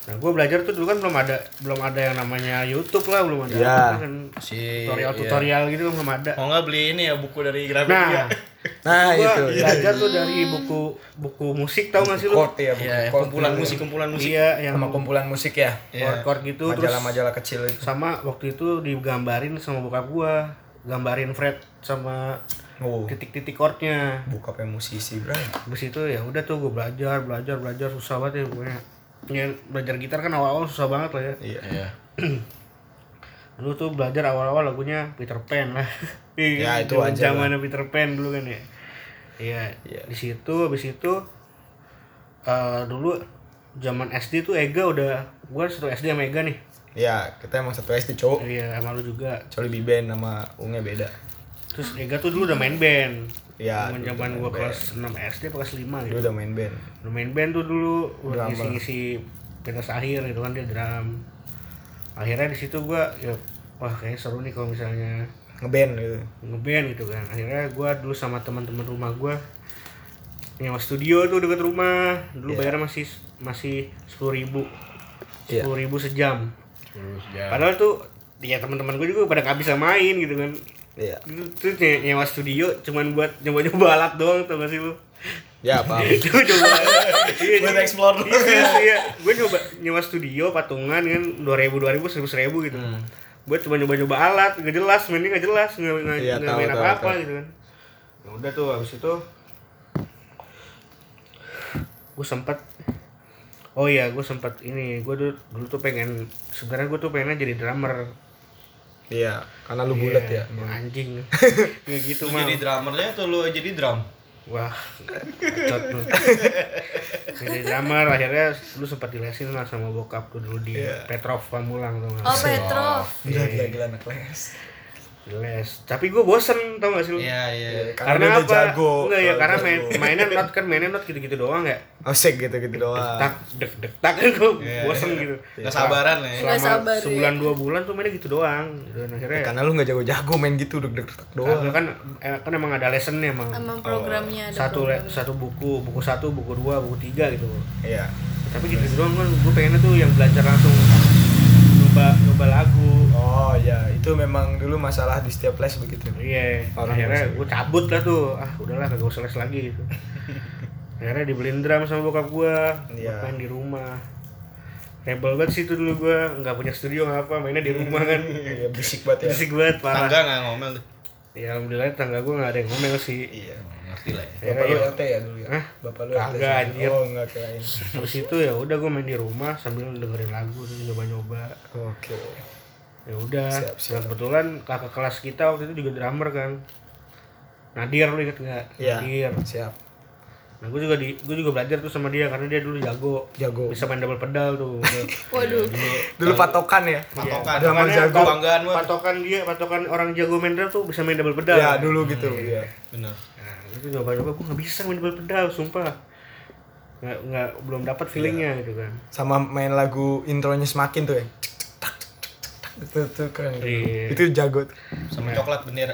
C: Nah gue belajar tuh dulu kan belum ada belum ada yang namanya YouTube lah, belum ada
B: Iya.
C: apa kan
D: Si iya.
C: tutorial-tutorial gitu kan belum ada.
B: Oh,
D: Mau nggak beli ini ya buku dari Gramedia?
C: Nah,
B: Nah,
C: gue
B: itu. ya.
C: belajar tuh dari buku buku musik tau gak sih lu?
B: Chord ya, bukan
D: Iya, ya,
B: chord.
D: kumpulan musik, kumpulan musik.
C: Iya, yang
B: sama kumpulan musik ya.
C: chord-chord gitu terus
B: Majalah-majalah kecil itu.
C: sama waktu itu digambarin sama bokap gua gambarin Fred sama
B: Oh,
C: titik-titik chordnya
B: bokapnya musisi, Bro.
C: habis itu ya udah tuh gua belajar belajar belajar susah banget ya pokoknya Ya, belajar gitar kan awal-awal susah banget lah ya
B: Iya.
D: Iya.
C: lu tuh belajar awal-awal lagunya Peter Pan lah Iya,
B: Ya, itu
C: Zaman-
B: wajar
C: zamannya Peter Pan dulu kan ya iya
B: Iya.
C: di situ habis itu eh, dulu zaman SD tuh Ega udah gua satu SD sama Ega nih
B: Ya, kita emang satu SD, cowok.
C: iya sama lu juga
B: Kecuali Biben sama Unge beda.
C: Terus Ega tuh dulu udah main band.
B: Iya,
C: Zaman
B: dulu
C: zaman
B: udah
C: gua
B: main
C: kelas 6 SD apa kelas 5 gitu.
B: Dia udah main band.
C: Udah main band tuh dulu udah
B: Drummer.
C: ngisi-ngisi pentas akhir gitu kan dia drum. Akhirnya di situ gua ya wah kayaknya seru nih kalau misalnya
B: Ngeband gitu.
C: ngeband gitu kan. Akhirnya gua dulu sama teman-teman rumah gua nyewa studio tuh deket rumah. Dulu bayarnya masih masih 10.000 ribu.
B: Iya.
C: Sepuluh ribu sejam. Padahal tuh ya teman-teman gue juga pada nggak bisa main gitu kan
B: Iya.
C: terus nye- nyewa studio cuman buat nyoba-nyoba alat doang tau gak sih lu
B: Ya, paham.
C: Gua coba iya,
D: Buat
C: coba.
D: explore dulu.
C: iya, iya. gue coba nyewa studio patungan kan dua ribu dua ribu seribu seribu gitu buat cuma nyoba-nyoba alat nggak jelas mainnya nggak jelas nggak nggak
B: Iya,
C: nggak
B: tahu,
C: main
B: tahu,
C: apa-apa
B: tahu.
C: gitu kan ya udah tuh habis itu gue sempat oh iya gue sempat ini gue dulu, dulu tuh pengen sebenarnya gue tuh pengen jadi drummer
B: Iya, karena lu bulat ya.
C: Iya, anjing nggak gitu
D: Lu
C: mah
D: jadi drummernya atau lu jadi drum?
C: Wah, bacot lu. Jadi drummer akhirnya lu sempat dilesin lah sama bokap lu dulu di Petrov Pamulang tuh.
F: Oh, Petrov.
B: Gila, gila, gila anak les.
C: Jelas. Tapi gue bosen tau gak sih lu?
D: Iya, iya.
C: Karena, apa?
B: dia udah jago.
C: Enggak ya,
B: Kalau
C: karena
B: jago.
C: main, mainan not kan mainan not gitu-gitu doang ya.
B: Osek gitu-gitu gitu, doang.
C: Tak dek dek tak gue
D: Iya.
C: bosen gitu.
D: Nggak sabaran lah ya.
C: Selama
F: Nggak sabar, iya.
C: sebulan dua bulan tuh mainnya gitu doang. Dan akhirnya
B: Karena lu nggak jago-jago main gitu deg-deg tak
C: kan,
B: doang.
C: kan eh, kan emang ada lessonnya emang.
F: sama programnya ada
C: Satu le-
F: program.
C: satu buku, buku satu, buku dua, buku tiga gitu.
B: Iya.
C: Tapi gitu doang kan gue pengennya tuh yang belajar langsung nyoba nyoba lagu.
B: Oh ya, itu memang dulu masalah di setiap les begitu.
C: Iya,
B: Orang
C: akhirnya
B: bosan.
C: gue cabut lah tuh. Ah, udahlah kagak usah les lagi gitu. akhirnya dibeliin drum sama bokap gue,
B: Iya.
C: main di rumah. Rebel banget sih itu dulu gue, nggak punya studio nggak apa, mainnya di rumah kan.
B: Iya, bisik banget ya.
C: Berisik banget
D: Tangga
C: parah.
D: nggak ngomel tuh.
C: Ya alhamdulillah tangga gue nggak ada yang ngomel sih.
B: Iya.
D: Ngerti lah ya.
B: Bapak lu
C: Akhirnya ya,
B: RT ya dulu ya?
C: Hah?
B: Bapak lu
C: Kagak,
B: RT sih?
C: anjir.
B: Oh, enggak kirain.
C: terus itu ya udah gue main di rumah sambil dengerin lagu, terus nyoba-nyoba.
B: Oke.
C: Ya udah.
B: Siap, siap.
C: Nah, kebetulan kakak kelas kita waktu itu juga drummer kan. Nadir lu inget nggak?
B: Iya.
C: Nadir.
B: Siap.
C: Nah, gue juga di gue juga belajar tuh sama dia karena dia dulu jago.
B: Jago.
C: Bisa main double pedal tuh.
F: waduh
B: Dulu patokan ya.
D: Patokan.
B: Udah mau
C: Patokannya
B: jago.
C: kalau-
D: Banggaan banget.
C: patokan dia, patokan orang jago main drum tuh bisa main double pedal.
B: Ya, dulu gitu.
C: Hmm.
B: Iya.
D: Bener.
C: Nah, itu coba-coba gue nggak bisa main double pedal, sumpah. Nggak, nggak belum dapat
B: Iya.
C: feelingnya gitu kan.
B: Sama main lagu intronya semakin tuh ya. Cek, cek, tak, cek, cek, tak. Itu tuh keren. dulu.
C: Iya.
B: Itu jago. tuh.
D: Sama coklat bendera.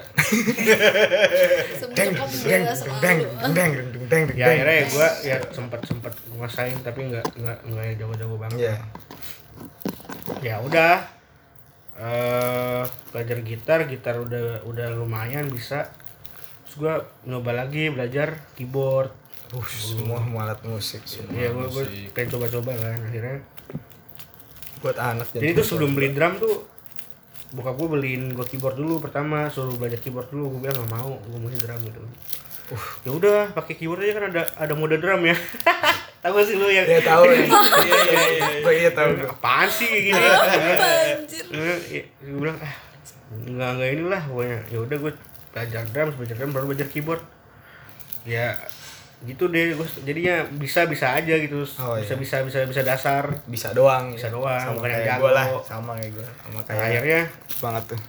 B: Deng deng deng
F: sebelum bendera
B: deng
F: selalu
B: deng deng deng deng deng.
C: Ya akhirnya ya gue ya sempat sempat nguasain tapi nggak nggak nggak yang jago-jago banget.
B: Iya.
C: Ya udah. eh belajar gitar, gitar udah udah lumayan bisa. Terus gue nyoba lagi belajar keyboard.
B: Uh, semua alat musik semua.
C: Iya, gue gue pengen coba-coba kan akhirnya.
B: buat anak
C: Jadi tuh sebelum beli drum tuh bokap gue beliin gue keyboard dulu pertama suruh belajar keyboard dulu gue bilang nggak mau gue mau drum gitu uh ya udah pakai keyboard aja kan ada ada mode drum ya tahu gak sih lu yang
B: ya tahu ya iya iya iya oh iya tahu gua.
C: apaan sih kayak gini
F: Anjir.
C: gue bilang ah nggak nggak inilah pokoknya ya udah gue belajar drum belajar drum baru belajar keyboard ya gitu deh gue jadinya bisa bisa aja gitu
B: Oh, iya.
C: bisa bisa bisa bisa dasar
B: bisa doang ya.
C: Bisa doang,
B: sama
C: bukan yang
B: kayak
C: jago.
B: gue lah sama kayak gue sama
C: Nah,
B: kayak
C: akhirnya
B: banget tuh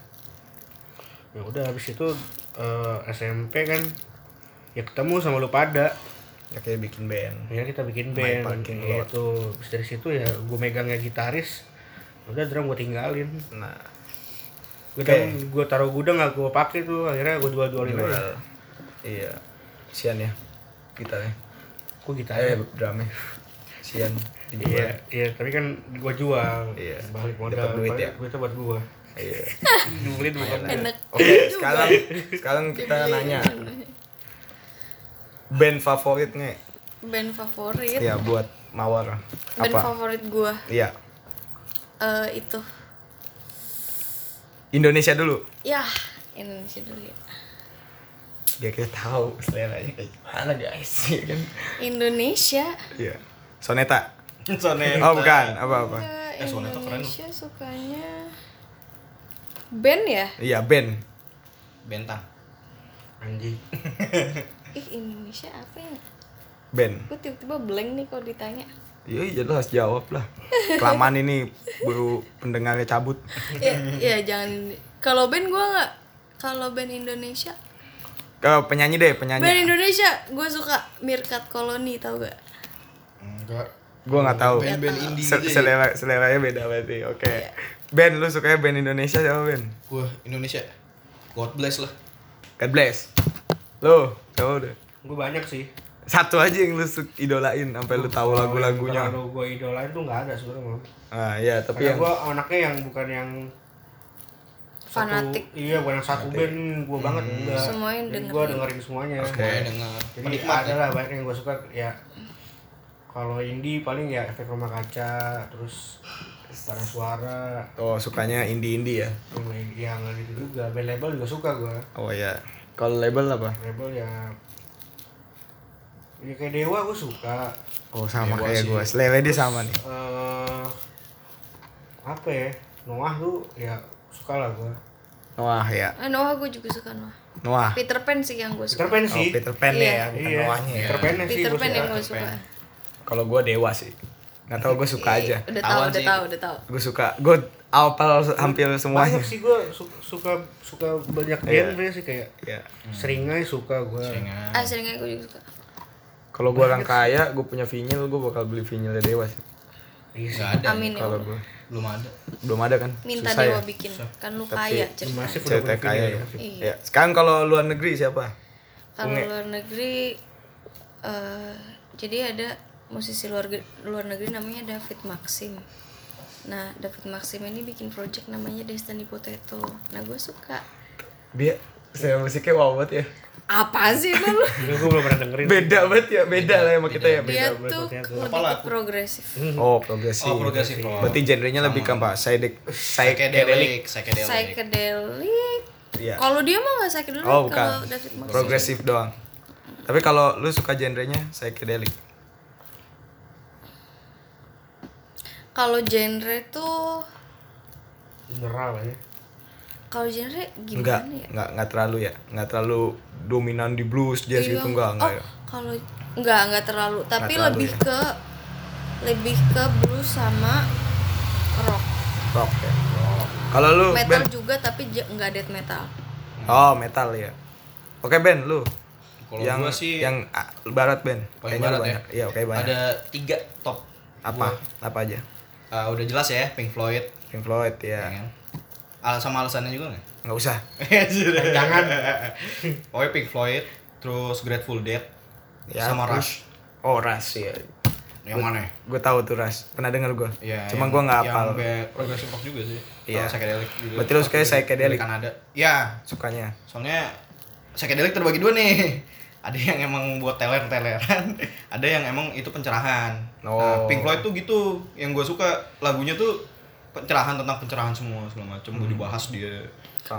C: ya udah habis itu eh, SMP kan ya ketemu sama lu pada
B: ya kayak bikin band
C: akhirnya kita bikin
B: Main
C: band
B: parking
C: ya
B: lot.
C: itu Terus dari situ ya gue megangnya gitaris udah drum gue tinggalin
B: nah
C: gue
B: Oke.
C: gue taruh gudang gak gue pakai tuh akhirnya gue jual jualin aja
B: jual iya sian ya gitarnya
C: gue
B: eh
C: gitaris
B: drumnya sian
C: Iya,
B: dijual
C: iya, tapi kan gua jual.
B: Iya.
C: Balik modal.
B: Dapat duit
C: balik
B: ya?
C: duitnya buat gua.
B: iya
C: Duit bukan.
F: enak
B: oke sekarang sekarang
F: Iya,
B: kita nanya band favorit nih
F: band favorit
B: ya buat mawar
F: band
B: apa
F: favorit gua
B: iya
F: eh, itu
B: Indonesia dulu
F: ya Indonesia dulu ya
B: biar Ya, kita tahu seleranya kayak gimana guys Iya kan
F: Indonesia
B: iya soneta
D: Soneta.
B: Oh bukan, apa-apa.
F: Ke
D: Eh, soalnya tuh keren
F: Indonesia sukanya band ya
B: Iya, band.
D: Bentang.
C: Anjing.
F: ih Indonesia apa ya
B: Band.
F: gue tiba-tiba blank nih kalau ditanya
B: Iya, iya lo harus jawab lah. Kelamaan ini baru pendengarnya cabut.
F: ya, ya jangan kalau band gua nggak kalau band Indonesia
B: Ke Eh, penyanyi deh,
F: band
B: penyanyi.
F: Indonesia gue suka Mirkat Koloni tau gak
D: Enggak.
B: Gua nggak tahu.
D: Band-band indie
B: Se-
D: gitu ya.
B: Selera seleranya beda berarti. Oke. Band lu sukanya band Indonesia siapa band?
D: Gue Indonesia. God bless lah.
B: God bless. Lu, coba udah.
C: Gua banyak sih.
B: Satu aja yang lu su- idolain sampai lu tahu lagu-lagunya.
C: Kalau gua idolain tuh nggak ada sebenarnya.
B: Ah, iya, tapi
C: Tapi
B: yang
C: gua anaknya yang bukan yang satu-
F: Fanatik.
C: iya, bukan yang satu band gua banget enggak.
F: Semuanya
C: Jadi
F: dengerin.
C: gua dengerin semuanya.
B: Hmm. Oke.
D: Saya dengar.
C: Jadi ada lah banyak yang gua suka ya kalau indie paling ya efek rumah kaca terus barang suara
B: oh sukanya indie-indie ya.
C: rumah yang gitu juga band label juga suka gua
B: Oh iya. Kalau label apa?
C: Rebel ya ya kayak Dewa gue suka
B: Oh sama
D: Dewa
B: kayak
D: sih.
B: gua. Selera dia sama nih.
C: eh apa ya Noah tuh ya suka lah gue
B: Noah ya.
F: ah, Noah gue juga suka Noah
B: Noah.
F: Peter Pan sih yang gue
C: Ah. Peter
F: suka
C: Pan
B: Oh,
C: sih
B: Peter Pan
F: Iya.
B: ya, bukan Noahnya ya.
C: Peter Pan sih
F: Peter
C: gue
F: Pan yang
C: suka
F: gue suka
B: Kalau gua dewa sih. nggak tahu gue suka aja
F: Udah tahu,
D: Tawan
F: udah
D: sih.
F: tahu, udah tahu.
B: gue suka gue apal hampir semuanya
C: Banyak sih gue suka suka banyak
B: Iya.
C: genre sih kayak
B: ya
C: seringai suka gue. Hmm.
F: Ah, seringnya gue juga suka.
B: kalau gue orang kaya gue punya vinyl gue bakal beli vinylnya dewa sih
C: Iya sih.
D: Nggak ada.
F: Amin ya.
B: kalau
F: Allah.
B: gue
D: Belum ada.
B: belum ada kan
F: Minta
B: Susah
F: Dewa
B: ya.
F: bikin. Kan lu
B: Tapi-
F: kaya cerita.
C: Masih udah
B: CT
C: punya
B: kaya ya.
C: film ya.
F: Iya.
B: ya sekarang kalau luar negeri siapa
F: Kalau
B: Unge.
F: luar negeri eh jadi ada musisi luar ge- luar negeri namanya David Maxim. Nah, David Maxim ini bikin project namanya Destiny Potato. Nah, gue suka.
B: dia saya musiknya wow banget ya
F: Apa sih lu?
C: Juga gue belum pernah dengerin.
B: beda banget ya beda lah sama kita ya beda
F: Dia tuh lebih ke
D: Apalah.
F: progresif.
B: oh progresif
D: Oh, progresif. rock.
B: berarti genrenya lebih ke apa psychedelic psychedelic
D: psychedelic, psychedelic.
F: Psychedelic.
C: Ya.
B: Iya.
F: Kalau dia mah nggak psychedelic
B: oh
F: kalau
B: bukan
F: David Maxim.
B: progresif doang tapi kalau lu suka genrenya psychedelic
F: Kalau genre tuh
C: Mineral ya.
F: kalau genre
B: enggak
F: gimana ya?
B: enggak enggak terlalu ya enggak terlalu dominan di blues jazz
F: Iya.
B: gitu enggak enggak
F: oh,
B: ya
F: kalau enggak enggak terlalu tapi
B: terlalu,
F: lebih
B: ya.
F: ke lebih ke blues sama rock
B: rock ya kalau lu
F: metal
B: Ben
F: juga tapi j- enggak death metal
B: oh metal ya oke Ben lu
D: Kalau
B: yang
D: gua sih
B: yang ah, barat Ben
D: paling
B: Kayaknya lu
D: barat ya.
B: banyak iya oke banyak
D: Ada tiga top.
B: apa apa aja
D: Eh, udah jelas ya Pink Floyd.
B: Pink Floyd ya
D: Ya. kan? Al- sama alasannya juga nggak?
B: nggak usah
D: Jangan. Oke Pink Floyd, terus Grateful Dead,
B: Ya,
D: sama
B: terus-
D: Rush.
B: oh Ras ya
D: Yang mana?
B: gue tahu tuh Ras pernah denger gue
D: Ya,
B: cuma
D: yang-
B: gue nggak hafal
D: Yang be- progressive rock juga sih.
B: Iya.
D: Sama Psychedelic juga.
B: Berarti lu sukanya
D: Tapi dari-
B: psychedelic?
D: dari Kanada. Iya.
B: sukanya
D: Soalnya psychedelic terbagi dua nih. Ada yang emang buat teler-teleran, ada yang emang itu pencerahan.
B: Oh.
D: Pink Floyd tuh gitu, yang gue suka lagunya tuh pencerahan tentang pencerahan semua segala macam
B: Hmm.
D: gue dibahas eh, dia.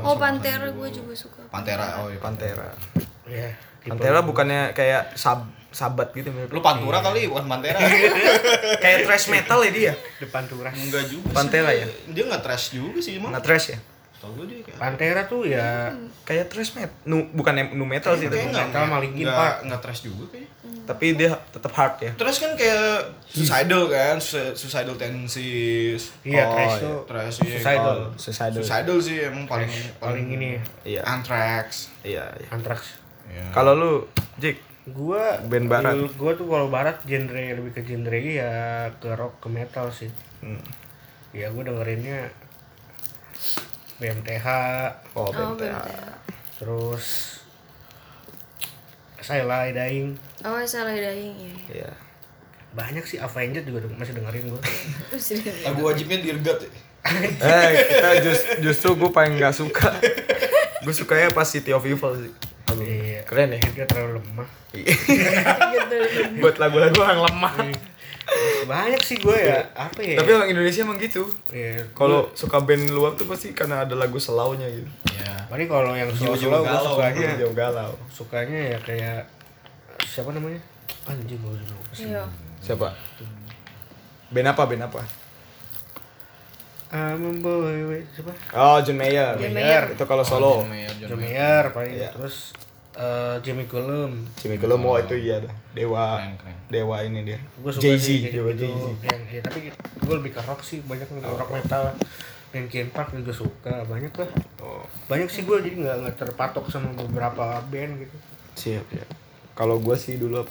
F: oh pantera gue juga suka
D: Pantera, oh iya.
B: Pantera
C: Iya.
B: Pantera bukannya kayak sab sabat gitu mirip
D: Lu Pantura kali bukan Pantera.
B: kayak thrash metal ya dia
C: Depan turah.
D: Enggak juga. sih,
B: Pantera
D: dia-
B: ya?
D: Dia enggak trash juga sih, emang.
B: nggak thrash ya
D: Tau gue dia kayak
C: Pantera tuh ya
B: kayak thrash metal nu bukan em- nu metal sih
D: Kayaknya
B: tapi,
D: enggak,
C: Metal malah Linkin Park.
D: enggak, enggak trash juga kayaknya.
B: tapi dia tetap hard ya
D: Trash kan kayak suicidal kan, su- suicidal tendencies.
C: Iya,
B: Oh,
C: trash
B: iya.
C: tuh.
D: Trash iya.
C: Suicidal.
D: Kalau-
B: Suicidal.
D: Suicidal sih emang paling
C: Paling ini
B: iya
D: Anthrax.
B: iya, iya.
C: Antrax.
D: Iya.
B: kalau lu Jik
C: Gua
B: Band barat.
C: menurut Gua tuh kalau barat genre lebih ke genre ya ke rock ke metal sih.
B: Hmm.
C: Ya gua dengerinnya BMTH
B: oh,
F: oh
B: bentar.
F: pantera
C: terus Sailai Dying
F: oh salah dying ya
B: iya
C: banyak sih Avenged juga de- masih dengerin gua.
D: Lagu wajibnya dirgat ya.
B: eh kita just, justru gue paling nggak suka gue sukanya pas City of Evil sih Album.
C: Iya.
B: keren ya
C: Dia terlalu lemah. Gitu.
B: buat lagu-lagu orang lemah
C: Banyak sih gua ya apa ya?
B: tapi orang Indonesia emang gitu
C: ya,
B: kalau suka band luar tuh pasti karena ada lagu selaunya gitu
D: Iya.
C: Paling kalau yang slow
D: Jiwa-jiwa
C: slow gue
D: galau.
C: sukanya
B: jauh Iya. galau
C: sukanya ya kayak siapa namanya? Anjing gue dulu.
F: iya
B: siapa band apa band apa
C: I'm a boy, siapa?
B: oh John Mayer
F: John Mayer.
B: itu kalau solo
C: John Mayer paling
B: Iya.
C: terus eh, Jimmy Cullum.
B: Jimmy Cullum oh itu iya dah. Dewa
D: Keren, keren.
B: Dewa ini dia
C: Gue suka
B: Jay Z
C: sih kayak
B: Dewa
C: gitu.
B: Jay Z
C: Yang- ya, tapi gue lebih ke rock sih, banyak ke rock metal. Linkin Park juga suka, banyak lah.
B: oh
C: Banyak sih gue jadi nggak nggak terpatok sama beberapa band gitu.
B: siap ya kalau gue sih dulu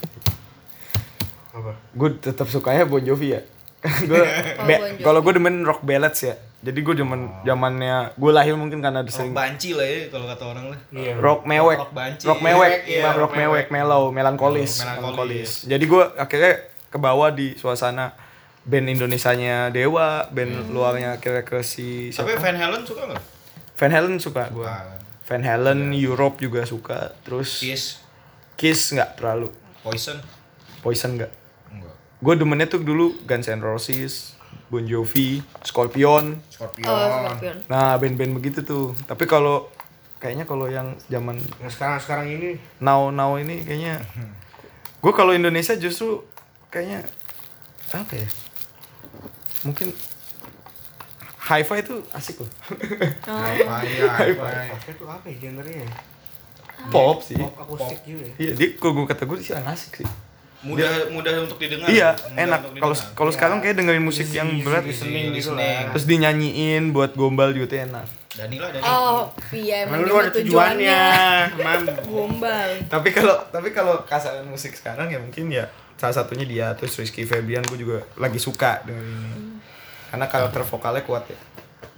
C: Apa?
B: gue tetap sukanya Bon Jovi ya gue
F: Oh, Bon Jovi.
B: kalau gue demen rock ballads ya jadi gue demen zamannya gue lahir mungkin karena
D: Oh. Rock
B: sering
D: banci lah ya kalau kata orang lah.
C: Iya.
B: rock mewek
D: Rock banci.
B: rock mewek
D: Iya,
B: rock,
D: rock
B: mewek mellow melankolis
D: Mellow, melankolis.
B: melankolis jadi gue akhirnya ke bawah di suasana band Indonesianya Dewa band luarnya akhirnya ke si
D: Hmm. Tapi
B: siapa?
D: Van Halen suka enggak?
B: Van Halen suka gue
D: Bukan.
B: Van Halen
D: Iya.
B: Europe juga suka terus
D: Kiss,
B: Kiss nggak terlalu
D: Poison.
B: Poison nggak
D: Enggak.
B: gue demennya tuh dulu Guns N' Roses Bon Jovi Scorpion
D: Scorpion.
F: oh Scorpion
B: nah band-band begitu tuh tapi kalau kayaknya kalau yang zaman
C: Yang sekarang sekarang ini
B: now now ini kayaknya gue kalau Indonesia justru kayaknya apa ya mungkin Hi-Fi itu asik loh
C: Ah.
D: Fire, fire.
C: apa itu apa ya genrenya?
B: pop sih
C: Pop akustik juga ya.
B: iya dia kalau gue kata gue sih asik sih
D: mudah mudah untuk
C: Nah,
D: didengar
B: Iya,
D: Mudah untuk
B: enak. Kalau
D: didengar. Iya,
B: kalau sekarang
C: Iya.
B: kayak dengerin musik yang berat
A: listening gitu
D: listening.
A: lah.
B: terus dinyanyiin buat gombal juga tuh enak.
D: Danila Danila
F: Oh, iya emang
C: Lalu
F: itu
C: ada tujuannya, mam.
F: Gombal.
B: Tapi kalau tapi kalau kasaran musik sekarang ya mungkin ya salah satunya dia terus Rizky Febian gue juga lagi suka dengerin ini. Karena karakter vokalnya kuat ya.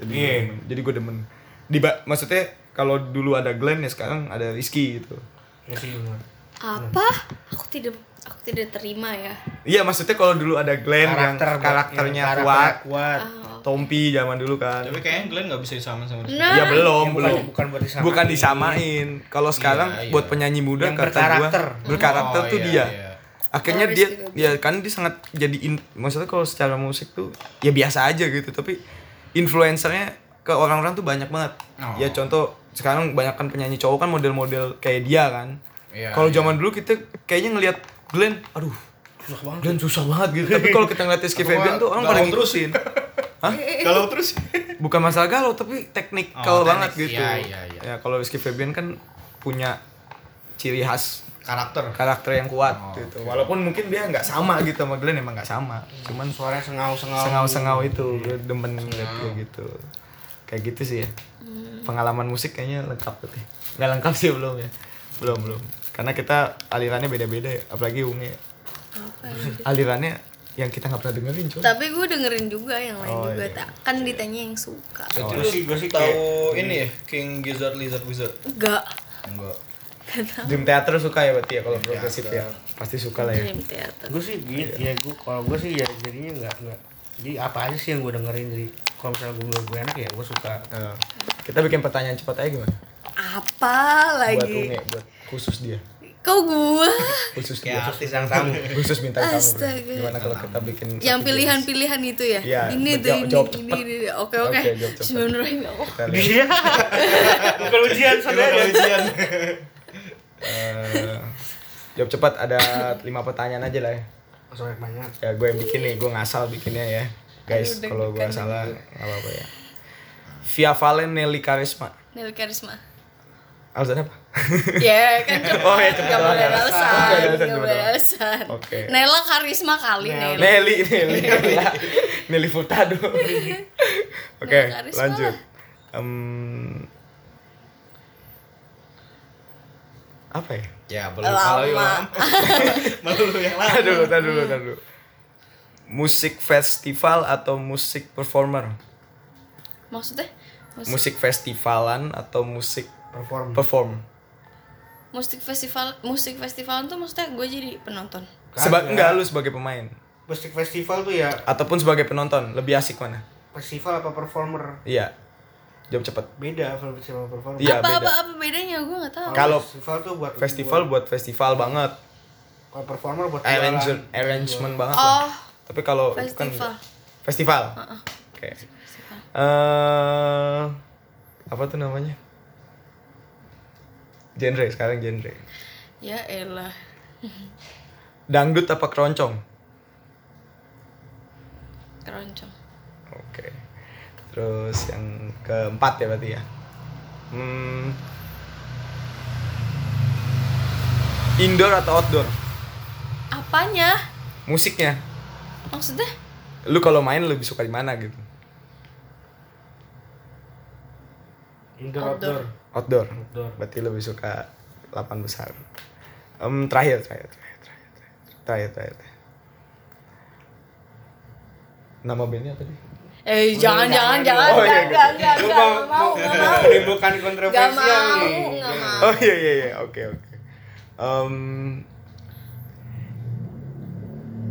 B: Jadi
A: Iya.
B: jadi gue demen. Di ba- maksudnya kalau dulu ada Glenn ya sekarang ada Rizky gitu.
C: Ya sih, Mam.
F: Apa? Aku tidak aku tidak terima ya.
B: Iya maksudnya kalau dulu ada Glenn yang karakternya
C: karakter
B: kuat,
C: iya, kuat.
B: Tompi zaman dulu kan.
D: tapi kayaknya Glenn nggak bisa disamain sama Rizky
F: Nah,
B: Iya belum,
C: Ya, bukan-
B: belum.
C: bukan buat disamain.
B: Bukan disamain. Kalau sekarang
D: Iya, iya.
B: buat penyanyi muda
C: Yang
B: kata
C: berkarakter.
B: gua berkarakter
D: Oh,
B: tuh
D: iya,
B: dia.
D: iya.
B: Akhirnya
F: Oh,
B: dia
F: Rizky Febian.
B: ya kan dia sangat jadi in- maksudnya kalau secara musik tuh ya biasa aja gitu, tapi influencernya ke orang-orang tuh banyak banget.
D: Oh.
B: Ya contoh sekarang banyak kan penyanyi cowok kan model-model kayak dia kan.
D: Iya,
B: kalau
D: iya.
B: zaman dulu kita kayaknya ngelihat Glenn, aduh, susah banget. Glenn susah banget gitu. tapi kalau kita ngeliat Rizky
D: Atau
B: Febian
D: nggak
B: tuh orang
D: galau
B: pada
D: terus.
B: ngikutin. Hah?
D: kalau terus
B: bukan masalah galau tapi teknikal
D: Oh, teknik.
B: banget gitu.
D: Iya, iya, iya.
B: Ya kalau Rizky Febian kan punya ciri khas
D: karakter
B: karakter yang kuat gitu. Walaupun mungkin dia nggak sama gitu sama Glenn emang nggak sama. Cuman Iya.
C: Suaranya sengau-sengau.
B: sengau-sengau itu gue demen ngeliat dia gitu. Kayak gitu sih ya.
F: Hmm.
B: Pengalaman musik kayaknya lengkap tuh. deh. Nggak lengkap sih belum ya. Belum belum. Karena kita alirannya beda-beda ya, apalagi Unge.
F: apa? ya?
B: Alirannya yang kita nggak pernah dengerin coy.
F: Tapi gue dengerin juga yang lain
B: Oh,
F: juga
B: iya.
F: tak. Kan ditanya yang suka.
D: Berarti
C: Gua
D: lu
C: sih- gua sih
D: tahu ini ya King Gizzard Lizard Wizard
F: Enggak.
D: enggak
B: Dream Theater suka ya berarti ya kalau progresif ya. Pasti suka lah ya.
F: Dream Theater.
C: Gue sih gitu ya gue kalau gue sih ya jadinya nggak nggak. Jadi apa aja sih yang gue dengerin jadi kalau misalnya gue gue enak ya gue suka.
B: Nah, kita bikin pertanyaan cepat aja gimana?
F: Apa
B: Buat
F: lagi?
B: Unge, buat khusus dia.
F: Kau gua
B: Khusus dia.
D: kayak
B: Khusus,
D: artis yang tamu
B: khusus bintang tamu. bro.
F: Astaga.
B: Gimana kalau kita bikin
F: yang
B: satu games?
F: pilihan-pilihan itu ya.
B: Iya,
F: ini tuh
B: jawab-
F: ini,
B: jawab
F: ini,
B: cepet.
F: ini, ini. Oke oke.
B: Oke, jawab cepet.
F: Bismillahirrahmanirrahim. Ya Allah.
B: Kita lihat.
C: Iya. Bukan ujian ya.
D: Gimana kalau
C: saudara.
D: ujian?
B: Eh, jawab cepat ada lima pertanyaan aja lah ya.
C: Soalnya banyak.
B: Ya gue yang bikin nih, gue ngasal bikinnya ya. Guys, kalau gue salah nggak apa-apa ya. Via Valen Nelly Karisma.
F: Nel Karisma.
B: Alasan apa?
F: Ya kan cepet.
B: Oh, ya, cepet.
F: Gak boleh
B: Oke,
F: alasan.
B: alasan,
F: Gak
B: cepet.
F: boleh alasan.
B: Oke.
F: Nela Karisma kali Nela.
B: Nelly, Nelly, Nelly Furtado. Oke,
F: Nelly Karisma
B: lanjut.
F: lah.
B: Em, apa ya?
D: ya belum kalau
F: Lama.
D: yang belum yang lama
B: Tahan dulu, tahan dulu, tahan dulu. Musik festival atau musik performer?
F: Maksudnya? Musik,
B: Musik festivalan atau musik
C: Perform.
B: perform?
F: musik festival musik festival tuh maksudnya gue jadi penonton.
B: Seba
C: Kagak.
F: ya.
B: enggak lu sebagai pemain
C: Musik festival tuh ya
B: ataupun sebagai penonton lebih asik mana?
C: festival apa performer
B: Iya. Jawab cepat.
C: beda festival performer.
B: Iya,
F: apa,
B: beda.
F: apa apa bedanya gue nggak tahu.
B: Kalau
C: festival tuh buat
B: Festival buat festival banget.
C: Kalau performer buat
B: Arranger,
C: jualan.
B: arrangement banget lah.
F: Oh,
B: Tapi kalau bukan-
F: festival.
B: festival. Oke. Eh, apa tuh namanya? Genre sekarang genre.
F: Ya elah.
B: Dangdut apa keroncong?
F: Keroncong.
B: Oke. Terus yang keempat ya berarti ya. Hmm. Indoor atau outdoor?
F: Apanya?
B: Musiknya.
F: Maksudnya?
B: Lu kalau main lebih suka di mana gitu?
C: Indoor
F: Outdoor.
C: outdoor.
B: Outdoor.
C: Outdoor.
B: Berarti lebih suka lapan besar. Em, terakhir, terakhir, terakhir, terakhir, terakhir, terakhir, terakhir. Nama bandnya apa sih?
F: Eh jangan jangan jangan
B: Oh, iya,
F: jangan
B: iya.
F: jangan jangan nggak mau nggak mau
C: bukan
F: nggak mau
C: kontroversial nih.
F: nggak mau.
B: Oh iya iya iya, oke oke. Em,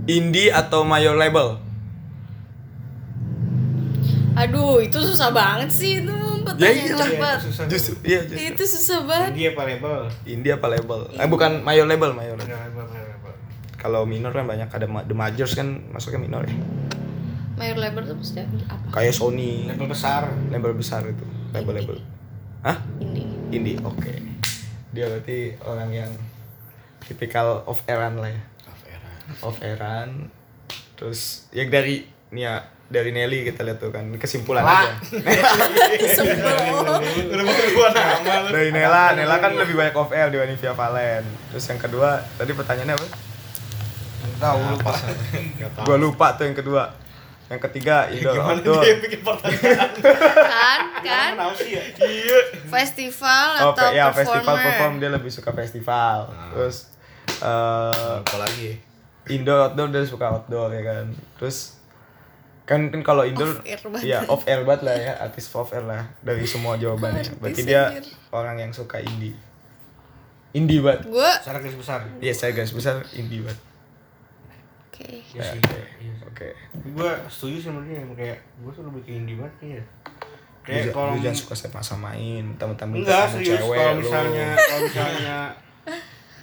B: indie atau mayor label?
F: Aduh itu susah banget sih itu
B: Ya
F: pertanyaan
B: iyalah.
F: cepat.
C: susah
B: Justru iya justru.
F: Itu susah banget.
C: Dia apa label?
B: Indie apa label? Eh bukan mayor label, mayor label.
C: Indoor label, indoor label.
B: Kalau minor kan banyak ada ma- The Majors kan masuknya minor ya.
F: Mayor labor tuh maksudnya apa?
B: Kayak Sony,
C: Label besar.
B: label besar itu, label-label. Hah?
F: Ini.
B: Indie, oke. Dia berarti orang yang tipikal of eran lah ya. Of eran. Terus ya dari nih ya dari Nelly kita lihat tuh kan kesimpulan aja.
F: Sebel.
D: udah mau keluar nama lu
B: Dari Nela, Nela kan lebih banyak of air dibanding Via Valen. Terus yang kedua, tadi pertanyaannya apa? tahu lupa. Gua lupa tuh yang kedua. Yang ketiga indoor
D: Gimana
B: outdoor.
D: dia bikin pertanyaan?
F: kan kan
D: Kenapa sih ya? Iya.
F: festival
B: Oh,
F: atau
B: pe- ya
F: performer
B: festival perform dia lebih suka festival.
D: Ah.
B: Terus eh
D: Apa lagi?
B: indoor outdoor dia suka outdoor ya kan. Terus kan kan kalau indoor
F: Off air banget.
B: ya off air banget lah ya artis off air lah dari semua jawabannya.
F: Artis
B: Berarti dia
F: anjir.
B: orang yang suka indie. Indie banget.
F: gue
C: secara garis besar
B: Iya, saya guys besar indie banget.
F: oke
C: ya sih
B: Oke.
C: Iya sih.
B: Oke.
C: gue setuju sih sama dia kayak gue tuh lebih ke indie banget kayaknya kayak
B: Lu,
C: kalau
B: lu jangan suka sama-samain teman-teman
C: enggak serius kalau misalnya kalau misalnya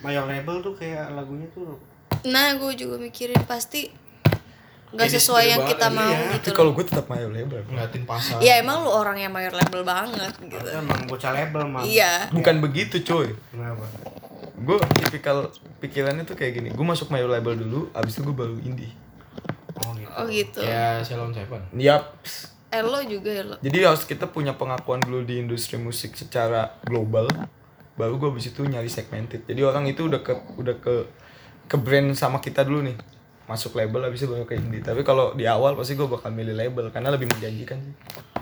C: mayor label tuh kayak lagunya tuh
F: nah gue juga mikirin pasti nggak sesuai yang kita mau gitu
B: iya. Tapi
F: loh.
B: kalau gue tetap mayo label.
A: Ngeliatin pasar.
F: ya emang lu orang yang mayor label banget gitu
C: emang bocah label
B: Ah.
C: mah
F: iya
B: Bukan begitu, cuy.
C: kenapa
B: Gue tipikal pikirannya tuh kayak gini. Gue masuk mayo label dulu, abis itu gue baru indie.
C: oh gitu
F: oh gitu
B: Iya.
A: Ya, Shalom Seven.
B: Yap.
F: eh lo juga ya lo
B: Jadi harus kita punya pengakuan dulu di industri musik secara global. Baru gue abis itu nyari segmented. Jadi orang itu udah ke udah ke ke brand sama kita dulu nih masuk label abis itu baru ke indie tapi kalau di awal pasti gue bakal milih label karena lebih menjanjikan sih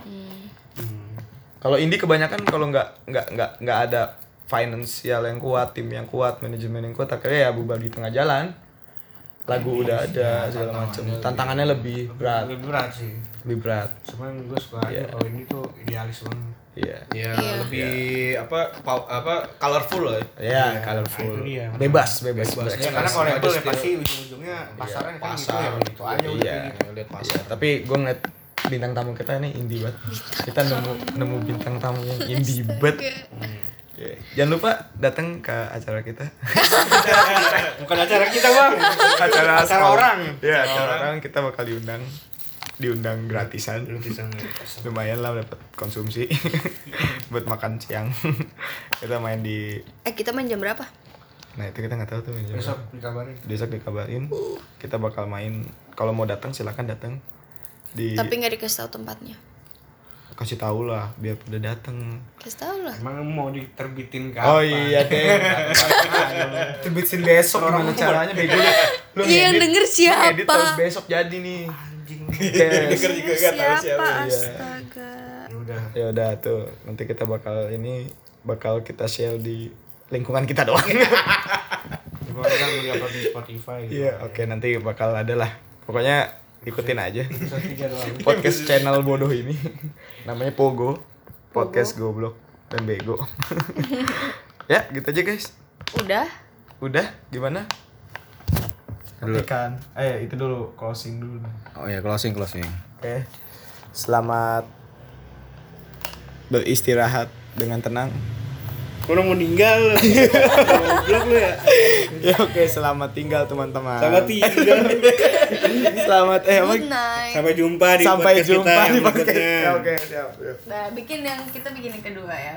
F: Hmm.
C: Hmm,
B: Kalau indie kebanyakan kalau nggak nggak nggak nggak ada finansial yang kuat, tim yang kuat, manajemen yang kuat, akhirnya ya bubar di tengah jalan. Lagu udah ada segala macam. Iya, Tantangannya lebih berat,
C: lebih berat sih
B: lebih berat.
C: cuman gue suka aja kalau ini tuh idealis banget
B: Iya.
D: Ya, lebih apa pa- apa colorful lah ya.
B: Ya,
C: itu
B: colorful.
C: dia.
B: Bebas, bebas.
C: ya
B: berekspresi.
C: karena kalau
D: ada
C: label ya
D: skill.
C: pasti ujung-ujungnya pasarnya kan gitu
D: pasar.
C: ya begitu aja udah
B: Iya.
C: kayak gitu.
D: Lihat
B: Iya, tapi gue ngeliat bintang tamu kita nih indie banget. Kita nemu nemu bintang tamu yang indie banget. Iya. Jangan lupa datang ke acara kita.
C: bukan acara kita bang
B: acara,
C: Acara
B: sekolah.
C: orang.
B: ya acara orang kita bakal diundang diundang gratisan lumayan lah dapat konsumsi buat makan siang kita main di
F: eh kita main jam berapa
B: nah itu kita nggak tahu tuh main jam
C: besok
B: berapa.
C: dikabarin
B: besok dikabarin kita bakal main kalau mau datang silakan datang di
F: tapi nggak dikasih tahu tempatnya
B: kasih tahu lah biar pada datang
F: kasih tahu lah
C: emang mau diterbitin kapan
B: oh iya deh terbitin besok gimana caranya bego lu Lu
F: Iya, yang
B: ngedit-
F: denger
B: lu
F: siapa?
B: ngedit terus besok jadi nih Yes.
D: juga nggak tahu siapa. iya.
F: astaga
C: ya udah
B: ya udah tuh nanti kita bakal ini bakal kita share di lingkungan kita doang
C: Coba kan beli upload di Spotify gitu.
B: iya oke nanti bakal ada lah pokoknya ikutin aja
C: Episode tiga doang.
B: podcast channel bodoh ini namanya Pogo podcast goblok dan bego ya gitu aja guys
F: udah
B: udah gimana kan eh itu dulu closing dulu
D: Oh ya, closing closing.
B: oke selamat beristirahat dengan tenang
C: Kau udah meninggal. Goblok lu ya.
B: ya oke selamat tinggal teman-teman
C: Selamat tinggal.
B: Selamat eh apa?
F: good night
C: Sampai jumpa di
B: Sampai
C: podcast
B: jumpa
C: kita yang
B: di podcast.
C: berikutnya.
B: Ya, Oke, siap, siap.
F: nah bikin yang kita bikin yang kedua ya